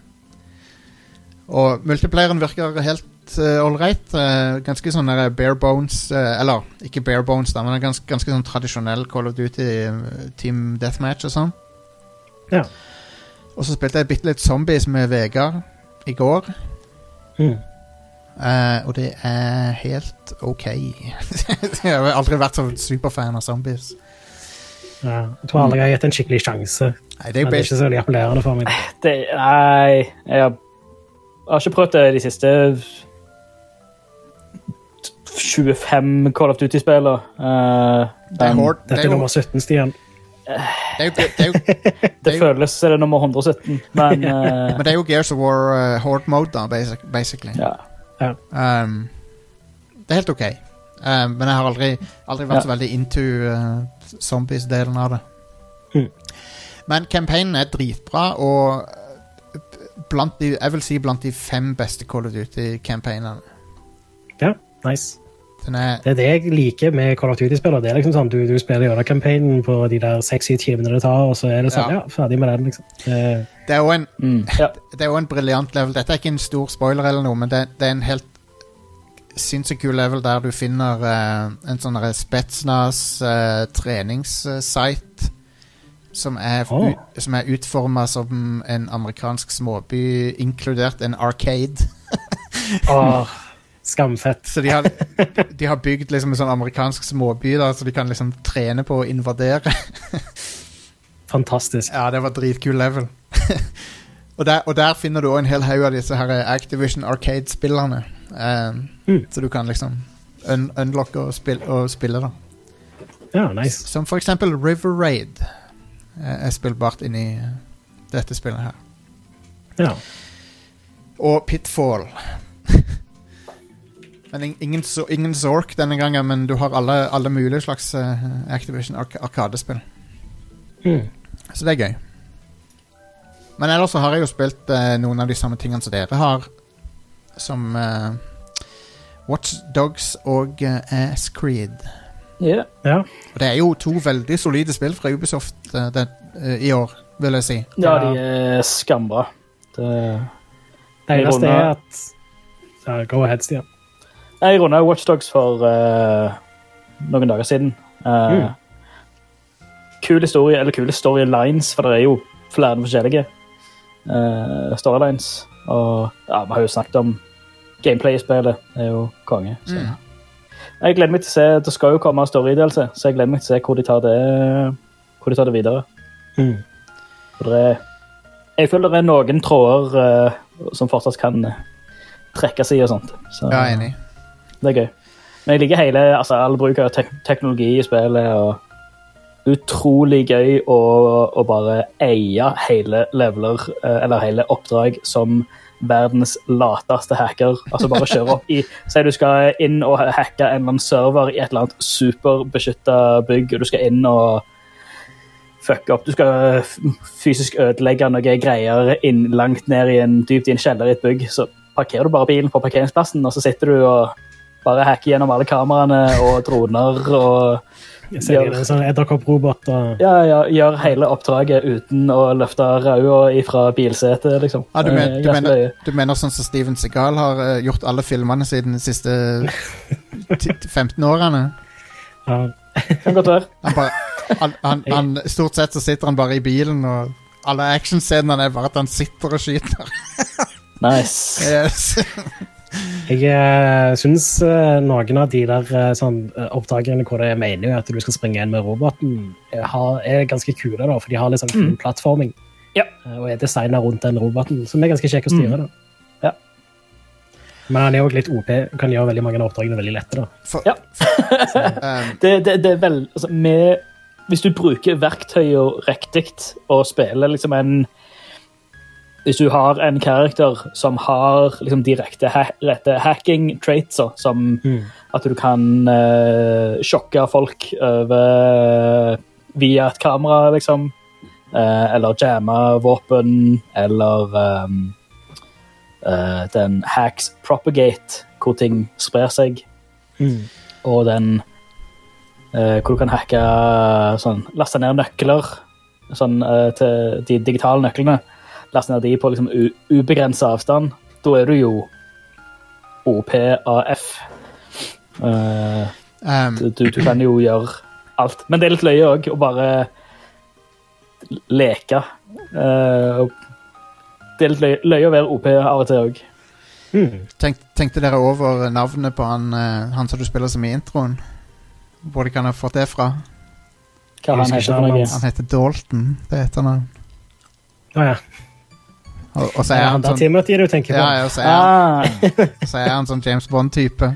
S1: Og multiplayeren virker helt uh, ålreit. Uh, ganske sånn der bare bones uh, Eller ikke bare bones, da, men en gans, ganske sånn tradisjonell Call of Duty uh, Team Deathmatch og sånn.
S2: Ja.
S1: Og så spilte jeg bitte litt Zombies med Vegard i går,
S2: Mm.
S1: uh, og det er helt OK. [LAUGHS] jeg har aldri vært så superfan av zombies.
S2: Ja. Jeg tror aldri jeg har gitt en skikkelig sjanse.
S1: Nei, Mm. det er jo
S2: Men det er
S1: bas-
S2: ikke så veldig appellerende for meg.
S3: Det, nei, jeg har, jeg har ikke prøvd det de siste 25 Call of Duty-spillene. Eh,
S1: det er
S3: men
S1: hard- det
S2: Dette
S1: er
S2: er
S1: jo-
S2: nummer 17, Stian.
S1: det er jo- det er jo
S3: det
S1: det er jo-
S3: føles som det er nummer 117,
S1: [LAUGHS]
S3: men eh,
S1: Men det er jo Gears of War eh, Horde Mode, da, basic, basically.
S3: ja.
S1: Um, det er helt OK. Um, men jeg har aldri, aldri vært så veldig into eh, zombies-delen av det.
S2: Mm.
S1: Men campaignen er dritbra, og eh, blant de, jeg vil si blant de fem beste Call of Duty-campaignene.
S2: Ja, nice.
S1: Den er
S2: Det er det jeg liker med Call of Duty-spillere. Det er liksom sånn, Du, du spiller gjennom kampanjen på de der 6-7 timene det tar, og så er det sånn,
S1: Ja.
S2: ja, ferdig med den, liksom.
S3: [LAUGHS]
S2: Eh,
S1: Det er jo en,
S3: Mm, ja.
S1: det er jo en briljant level. Dette er ikke en stor spoiler, eller noe, men det, det er en helt sinnssykt kul level der du finner eh, en sånn derre Spetsnas eh, treningssite som er,
S2: Åh.
S1: ut, som er utforma som en amerikansk småby, inkludert en arcade. [LAUGHS]
S2: åh, skamfett.
S1: Så de har, de har bygd liksom en sånn amerikansk småby da, så de kan liksom trene på å invadere.
S2: Fantastisk.
S1: Ja, det var dritkul level. [LAUGHS] og, der, og der finner du òg en hel haug av disse her eh, Activision Arcade-spillerne. Um,
S2: Mm.
S1: Så du kan liksom un unlocke og, spill og spille, da.
S2: Ja, nice.
S1: Som for eksempel River Raid eh, er spillbart inni eh, dette spillet her.
S2: Ja.
S1: Og Pitfall. [LAUGHS] men in- ingen, zo- ingen Zork denne gangen, men du har alle, alle mulige slags eh, Activision Arc- Arkadespill.
S2: Mm.
S1: Så det er gøy. Men ellers så har jeg jo spilt eh, noen av de samme tingene som dere har. Som eh, Watch Dogs og eh, Ass Creed.
S3: Ja.
S2: ja.
S1: Og det er jo to veldig solide spill fra Ubisoft eh, det, eh, i år, vil jeg si.
S3: ja, de er skambra. Det-
S2: Det
S3: Vi
S2: eneste
S3: runder-
S2: er at ja, Go ahead, Stian.
S3: Jeg runda Watchdogs for eh, noen dager siden. Eh,
S2: Mm.
S3: Kul historie, eller kule storylines, for det er jo flere forskjellige eh, storylines. Og ja, vi har jo snakket om gameplay i spillet. Det er jo konge. Så.
S1: Mm.
S3: Jeg gleder meg til å se, Det skal jo komme storydelelse, så jeg gleder meg til å se hvor de tar det, hvor de tar det videre.
S2: Mm.
S3: For det er, jeg føler det er noen tråder eh, som fortsatt kan eh, trekkes i og sånt. Så,
S1: Ja, jeg er enig.
S3: det er gøy. Men jeg liker hele, altså all bruk av tek teknologi i spillet. og Utrolig gøy å, å bare eie hele leveler, eh, eller hele oppdrag, som verdens lateste hacker. Altså bare kjøre opp i [LAUGHS] Si du skal inn og hacke en eller annen server i et eller annet superbeskytta bygg, og du skal inn og fucke opp. Du skal f- fysisk ødelegge noe greier inn, langt ned i en dypt i en kjeller i et bygg. Så parkerer du bare bilen på parkeringsplassen, og så sitter du og bare hacker gjennom alle kameraene og droner og
S2: Jeg ser
S3: Ja.
S2: det er en sånn edderkopprobot og
S3: ja, ja, gjør hele oppdraget uten å løfte rauda ifra bilsetet, liksom.
S1: Ja, Ah, du, men,
S3: Eh,
S1: du,
S3: ganske
S1: mener,
S3: løye.
S1: du mener sånn som Steven Segal har eh, gjort alle filmene siden de siste
S3: [LAUGHS]
S1: ti- 15 årene?
S2: ja.
S3: Kan godt være.
S1: Han bare, han, han, han, stort sett så sitter han bare i bilen, og alle actionscenene er bare at han sitter og
S3: [LAUGHS]
S1: skyter. [LAUGHS]
S3: Nice.
S1: Yes.
S2: Jeg uh, syns eh, noen av de der eh, sånn, eh, oppdragene hvor det er meningen at du skal springe inn med roboten, eh, har, er ganske kule, da, for de har litt sånn kul plattforming.
S3: Ja.
S2: eh, og er designa rundt den roboten, som er ganske kjekk å styre. da.
S3: Ja.
S2: Men han er òg litt OP, kan gjøre veldig mange av oppdragene veldig lette. da.
S1: For,
S3: Ja.
S1: ehm,
S3: Det, det, det er vel altså, med, Hvis du bruker verktøyer riktig og spiller liksom en Hvis du har en karakter som har liksom, de rette, ha, rette hacking-traitsa, som at du kan eh, sjokke folk over eh, via et kamera, liksom. Eh, eller jamme våpen, eller ehm, eh, den hacks propagate, hvor ting sprer seg. Og den eh, hvor du kan hacke sånn, Laste ned nøkler sånn, eh, til de digitale nøklene. Laste ned de på liksom, u- ubegrensa avstand. Da er du jo OPAF. Eh, [LAUGHS]
S1: ehm,
S3: du, du kan jo gjøre alt. Men det er litt løye òg å bare leke. Eh, og det er litt løye, løye å være OP av og til òg.
S2: Mm.
S1: tenk, tenkte dere over navnet på han, eh, han som du spiller som i introen? Hvor de kan ha fått det fra?
S2: Jeg
S3: Hva han
S2: husker
S3: heter
S2: ikke
S3: for noe.
S2: navnet
S1: Han heter Dalton. Det heter han.
S2: Å ja.
S1: Og, og så
S2: Det
S1: er
S2: er
S1: han
S2: han der
S1: sånn
S2: Timothy du tenker på?
S1: ja, ja, og så, er han,
S3: Ah,
S1: så er han sånn James Bond-type.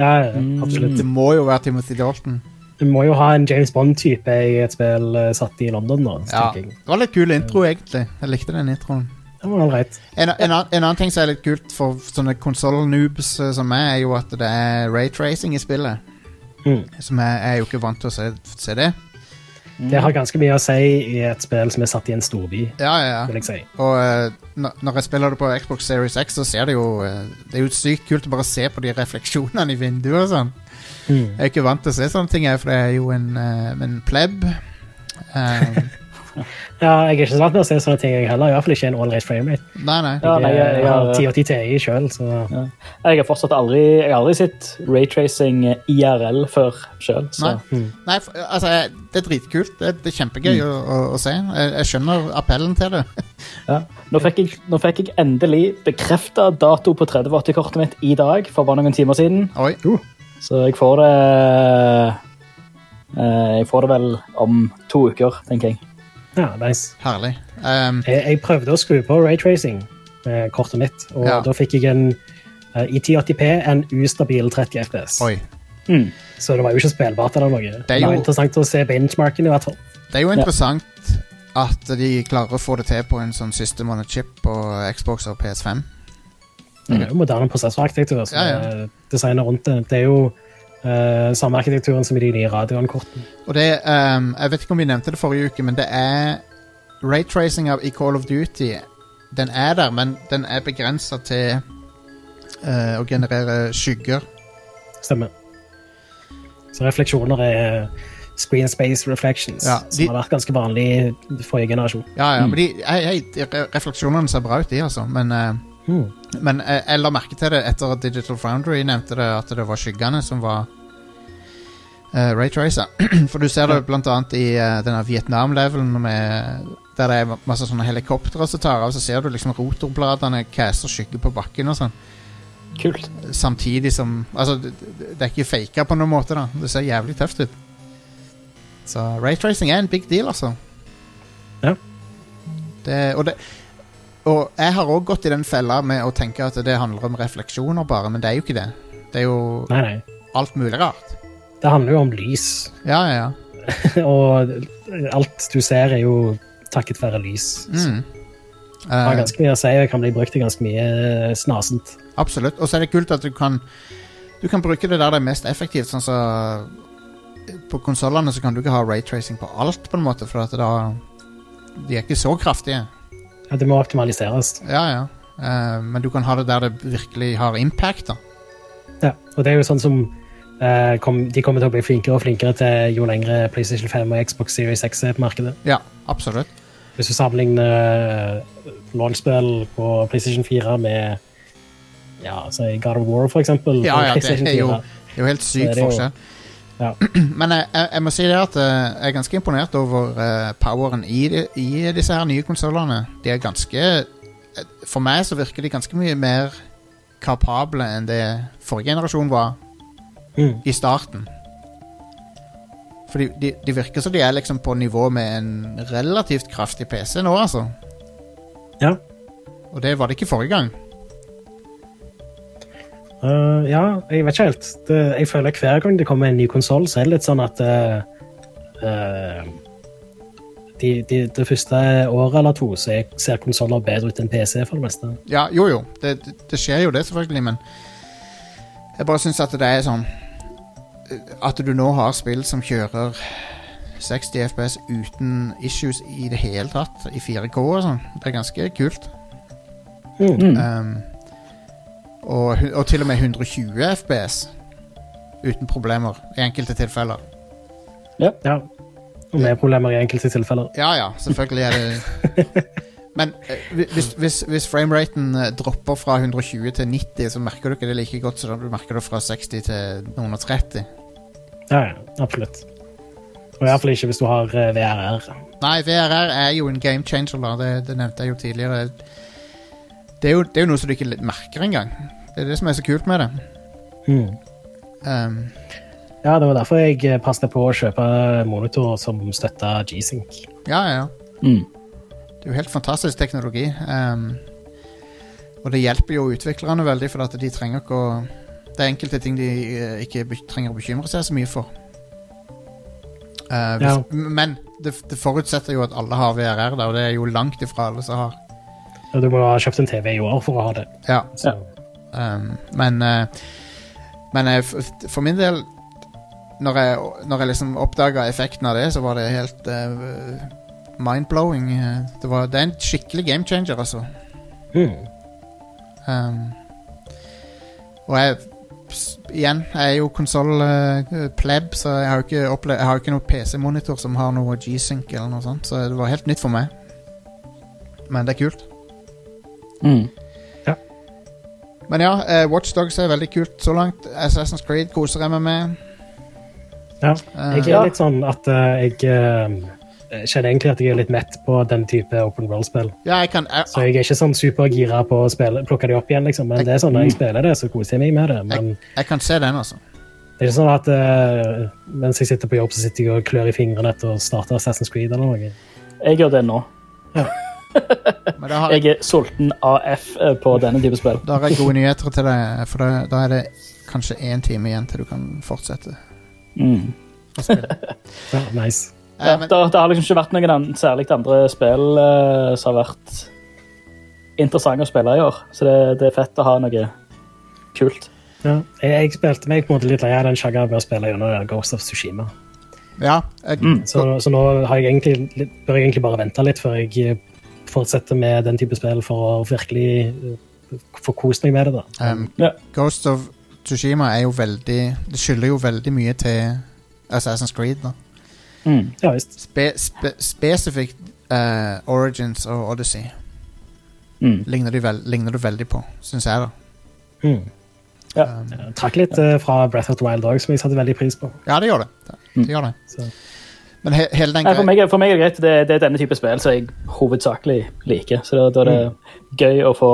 S2: Ja, ja, absolutt.
S1: Det må jo være Timothy Dalton.
S2: Du må jo ha en James Bond-type i et spill eh, satt i London. da, så
S1: Ja.
S2: tenker jeg.
S1: Det var litt kul intro, egentlig. Jeg likte den introen.
S2: Det var all right.
S1: En, en, annen- en annen ting som er litt kult for sånne konsoll-noobs eh, som meg, er jo at det er raytracing i spillet.
S2: Mm.
S1: Som jeg, jeg er jo ikke vant til å se, se det.
S2: [LAUGHS] Det
S3: Mm.
S2: har ganske mye å si i et spill som er satt i en storby,
S1: Ja, ja,
S2: vil
S1: ja.
S2: jeg si.
S1: Og eh, når når jeg spiller det på Xbox Series X, så ser det jo eh, Det er jo sykt kult å bare se på de refleksjonene i vinduet og sånn.
S2: Mm.
S1: Jeg er ikke vant til å se sånne ting, jeg, for jeg er jo en, eh, en pleb. Eh,
S2: Ja, jeg er ikke så vant med å se sånne ting, jeg heller. Iallfall ikke en all right framerate.
S1: nei, nei.
S3: Ja, nei, jeg- jeg
S2: Jeg har
S3: har-
S2: 10 og 10 TI sjøl, så
S3: Jeg har fortsatt aldri, jeg har aldri sett eh, raytracing IRL før sjøl.
S1: Nei,
S3: så
S1: nei for, altså, jeg- det er dritkult. Det, det er kjempegøy å, å, å se. Jeg, jeg skjønner appellen til det. [LAUGHS]
S3: Ja. Nå, fikk jeg, nå fikk jeg endelig bekrefta dato på 3080-kortet mitt i dag, for bare noen timer siden.
S1: Oi.
S3: Så jeg får det eh, Jeg får det vel om to uker, tenker jeg.
S2: ja, nice.
S1: Herlig. Um,
S2: Jeg, jeg prøvde å skru på raytracing med kortet mitt, og
S1: Ja.
S2: da fikk jeg en eh, i 1080P en ustabil 30 FPS.
S1: oi.
S3: Mm.
S2: Så det var jo ikke spillbart eller noe. Det
S1: er
S2: var
S1: jo-
S2: interessant å se benchmarken i hvert fall.
S1: Det er jo interessant at de klarer å få det til på en sånn system on a chip på Xbox og PS5.
S2: Det er jo moderne prosessorarkitektur som
S1: Ja, ja.
S2: er designet rundt det. Det er jo eh, samme arkitekturen som i de nye radioankortene.
S1: Og det ehm, Jeg vet ikke om vi nevnte det forrige uke, men det er Raytracing av- i Call of Duty Den er der, men den er begrensa til eh, å generere skygger.
S2: Stemmer. Så refleksjoner er screen space reflections,
S1: Ja, de-
S2: som har vært ganske vanlig i forrige generasjon.
S1: Ja, ja, men de, hei, hei, de re- refleksjonene ser bra ut, de, altså. Men, eh,
S2: Mm.
S1: men eh, jeg la merke til det etter at Digital Foundry nevnte det, at det var skyggene som var uh, raytracer. [CLEARS THROAT] For du ser det blant annet i eh, denne Vietnam-levelen med der det er masse sånne helikoptre som tar av, så ser du liksom rotorbladene caster skygge på bakken og sånn.
S3: Kult.
S1: Samtidig som Altså, det, det det er ikke faka på noen måte, da. Det ser jævlig tøft ut. Så raytracing er en big deal, altså.
S2: Ja.
S1: Det, og, det, og jeg har òg gått i den fella med å tenke at det handler om refleksjoner, bare, men det er jo ikke det. Det er jo
S2: Nei, nei.
S1: alt mulig rart.
S2: Det handler jo om lys, [LAUGHS]
S1: Ja, ja, ja.
S2: og alt du ser er jo takket være lys. Så
S1: Mm.
S2: det har
S1: Eh,
S2: ganske mye å si, og kan bli brukt til ganske mye eh, snasent.
S1: Absolutt. Og så er det kult at du kan Du kan bruke det der det er mest effektivt. Sånn så På konsollene så kan du ikke ha raytracing på alt, på en måte, for at da De er ikke så kraftige.
S2: Ja, det må optimaliseres.
S1: Ja, ja. Eh, men du kan ha det der det virkelig har impact, da.
S2: Ja, og det er jo sånn som eh, kom, de kommer til å bli flinkere og flinkere til jo lengre PlayStation 5 og Xbox Series X er på markedet.
S1: Ja, absolutt.
S2: Hvis du sammenligner eh, launchspill på PlayStation 4 med ja, si God of War, for eksempel,
S1: Ja,
S2: på
S1: ja, det
S2: PlayStation
S1: er jo,
S2: 4.
S1: det er jo helt
S2: Det
S1: syk
S2: er det jo.
S1: forskjell.
S2: Ja.
S1: [CLEARS THROAT] Men jeg, jeg, jeg må si det at eh, jeg er ganske imponert over eh, poweren i, de- i disse her nye konsollene. De er ganske eh, For meg så virker de ganske mye mer kapable enn det forrige generasjon var
S2: Mm.
S1: i starten. For de, de, de virker som de er liksom på nivå med en relativt kraftig PC nå, altså.
S2: Ja.
S1: Og det var det ikke forrige gang.
S2: Eh, ja, jeg vet ikke helt. Det, jeg føler hver gang det kommer en ny konsoll, så er det litt sånn at eh, eh, de, de, Det første året eller to så er- ser konsoller bedre ut enn PC, for det meste.
S1: Ja, jo jo, det, det skjer jo det selvfølgelig, men Jeg bare syns at det er sånn eh, At du nå har spill som kjører 60 FPS uten issues i det hele tatt, i 4K og sånn. Det er ganske kult.
S2: Mm.
S1: Um, og, hu- og til og med 120 FPS uten problemer, i enkelte tilfeller.
S2: Ja. Og med problemer i enkelte tilfeller.
S1: Ja ja, selvfølgelig er det Men eh, hvi- hvis, hvis, hvis frameraten eh, dropper fra 120 til 90, så merker du ikke det like godt som du merker det fra 60 til noen og 30.
S2: Ja, ja, absolutt. Og i hvert fall ikke hvis du har eh, VRR.
S1: Nei, VRR er jo en game changer, da. Det, det nevnte jeg jo tidligere. Det er jo, det er jo noe som du ikke merker engang. Det er det som er så kult med det.
S2: Mm.
S1: Um,
S2: Ja, det var derfor jeg eh, passet på å kjøpe monitor som støtta G-Sync.
S1: ja, ja, ja.
S3: Mm.
S1: Det er jo helt fantastisk teknologi. ehm, og det hjelper jo utviklerne veldig, for at de trenger ikke å Det er enkelte ting de eh, ikke be- trenger å bekymre seg så mye for. Eh, hvis,
S2: Ja.
S1: Men det, det forutsetter jo at alle har VRR, da, og det er jo langt ifra alle som har.
S2: Og du må ha kjøpt en TV i år for å ha det.
S1: Ja,
S2: Så.
S1: ehm, men eh, men jeg, f- for min del når jeg, når jeg liksom oppdaga effekten av det, så var det helt eh, mind-blowing. eh. Det, var, det er en skikkelig game changer, altså.
S2: Mm.
S1: Um, og jeg s- Igjen, jeg er jo konsoll-pleb, så jeg har jo ikke, opple- jeg har jo ikke noen PC-monitor som har noe G-Sync eller noe sånt, så det var helt nytt for meg. Men det er kult.
S3: Mm.
S1: Men ja, eh, Watch Dogs er veldig kult så langt. Assassin's Creed koser jeg meg med.
S2: Ja.
S1: Eh,
S2: Jeg
S3: Ja.
S2: er litt sånn at eh, jeg eh, kjenner egentlig at jeg er litt mett på den type open world-spill.
S1: ja, jeg kan
S2: Så
S1: jeg,
S2: jeg er ikke sånn supergira på å spille, plukke de opp igjen, liksom. Men det er sånn når jeg spiller det, så koser jeg meg med det. Men
S1: jeg kan se den, altså.
S2: det er ikke sånn at eh, mens jeg sitter på jobb, så sitter jeg og klør i fingrene etter å starte Assassin's Creed eller noe.
S3: Jeg gjør det nå.
S1: Men da har jeg,
S3: Jeg er sulten AF på denne type spill.
S1: da har jeg gode nyheter til deg, for da, da er det kanskje én time igjen til du kan
S2: [LAUGHS]
S1: fortsette
S3: Mm.
S1: å spille.
S2: Ja, nice.
S1: Eh,
S3: Ja,
S1: men,
S3: det, det har liksom ikke vært noen an særlig andre spill eh, som har vært interessante å spille i år. Så det, det er fett å ha noe kult.
S2: Ja. Jeg, jeg spilte meg på en måte litt lei av den sjangeren ved å spille gjennom eh, Ghost of Tsushima.
S1: ja, eh, jeg,
S2: Mm, Så, så nå har jeg egentlig, litt- bør jeg egentlig bare vente litt før jeg eh, fortsetter med den type spill for å virkelig eh, få kost meg med det. da.
S1: um,
S3: Ja.
S1: Ghost of Tsushima er jo veldig Det skylder jo veldig mye til altså Assassin's Creed. da
S3: Mm.
S2: Ja visst.
S1: spe, spe, Spesifikt eh, Origins og Odyssey
S3: Mm.
S1: ligner, de vel, ligner det veldig på, syns jeg. da
S2: Mm.
S3: Ja.
S1: um,
S2: Jeg Trakk litt eh, fra Breath of the Wild òg, som jeg satte veldig pris på.
S1: Ja, det gjør det. Det,
S3: Mm.
S1: det, gjør det.
S2: Så.
S1: Men he, hele den
S3: Nei, for,
S1: greia
S3: meg, er- for meg er det greit. Det, det er denne type spill som jeg hovedsakelig liker. Så da, da er
S1: Mm.
S3: det gøy å få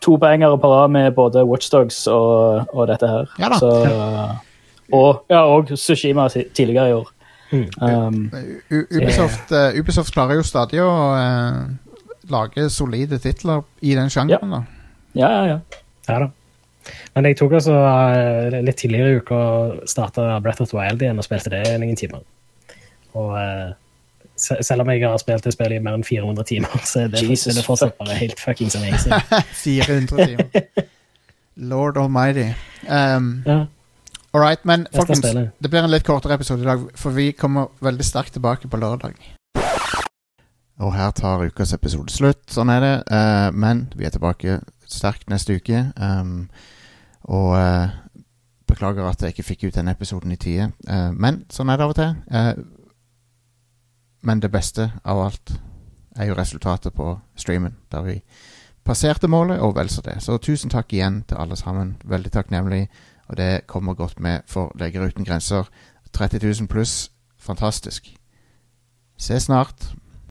S3: to poengere på rad med både Watchdogs og, og dette her.
S1: Ja da.
S3: Så, og, ja, og Sushima tidligere i år.
S2: Mm.
S3: Um,
S1: U- Ubisoft, eh, Ubisoft klarer jo stadig å eh, lage solide titler i den sjangeren. da
S3: ja, ja, ja.
S2: Ja da. Men jeg tok altså eh, litt tidligere i uka og starta Breath of the Wild igjen og spilte det i noen timer. Og eh, se- selv om jeg har spilt det spillet i mer enn 400 timer, så er det,
S3: Jesus
S2: det er fortsatt
S3: fuck.
S2: bare helt fuckings amazing.
S1: [LAUGHS] 400 timer. Lord almighty. Um,
S2: Ja.
S1: All right, men
S2: skal
S1: folkens,
S2: spille.
S1: det blir en litt kortere episode i dag, for vi kommer veldig sterkt tilbake på lørdag. Og her tar ukas episode slutt. Sånn er det. eh, men vi er tilbake sterkt neste uke. ehm, og eh, beklager at jeg ikke fikk ut den episoden i tide. eh, men sånn er det av og til. Eh, men det beste av alt er jo resultatet på streamen, der vi passerte målet, og vel så det. Så tusen takk igjen til alle sammen. Veldig takknemlig. Og det kommer godt med for Leger uten grenser. 30 000 pluss. Fantastisk. Se snart.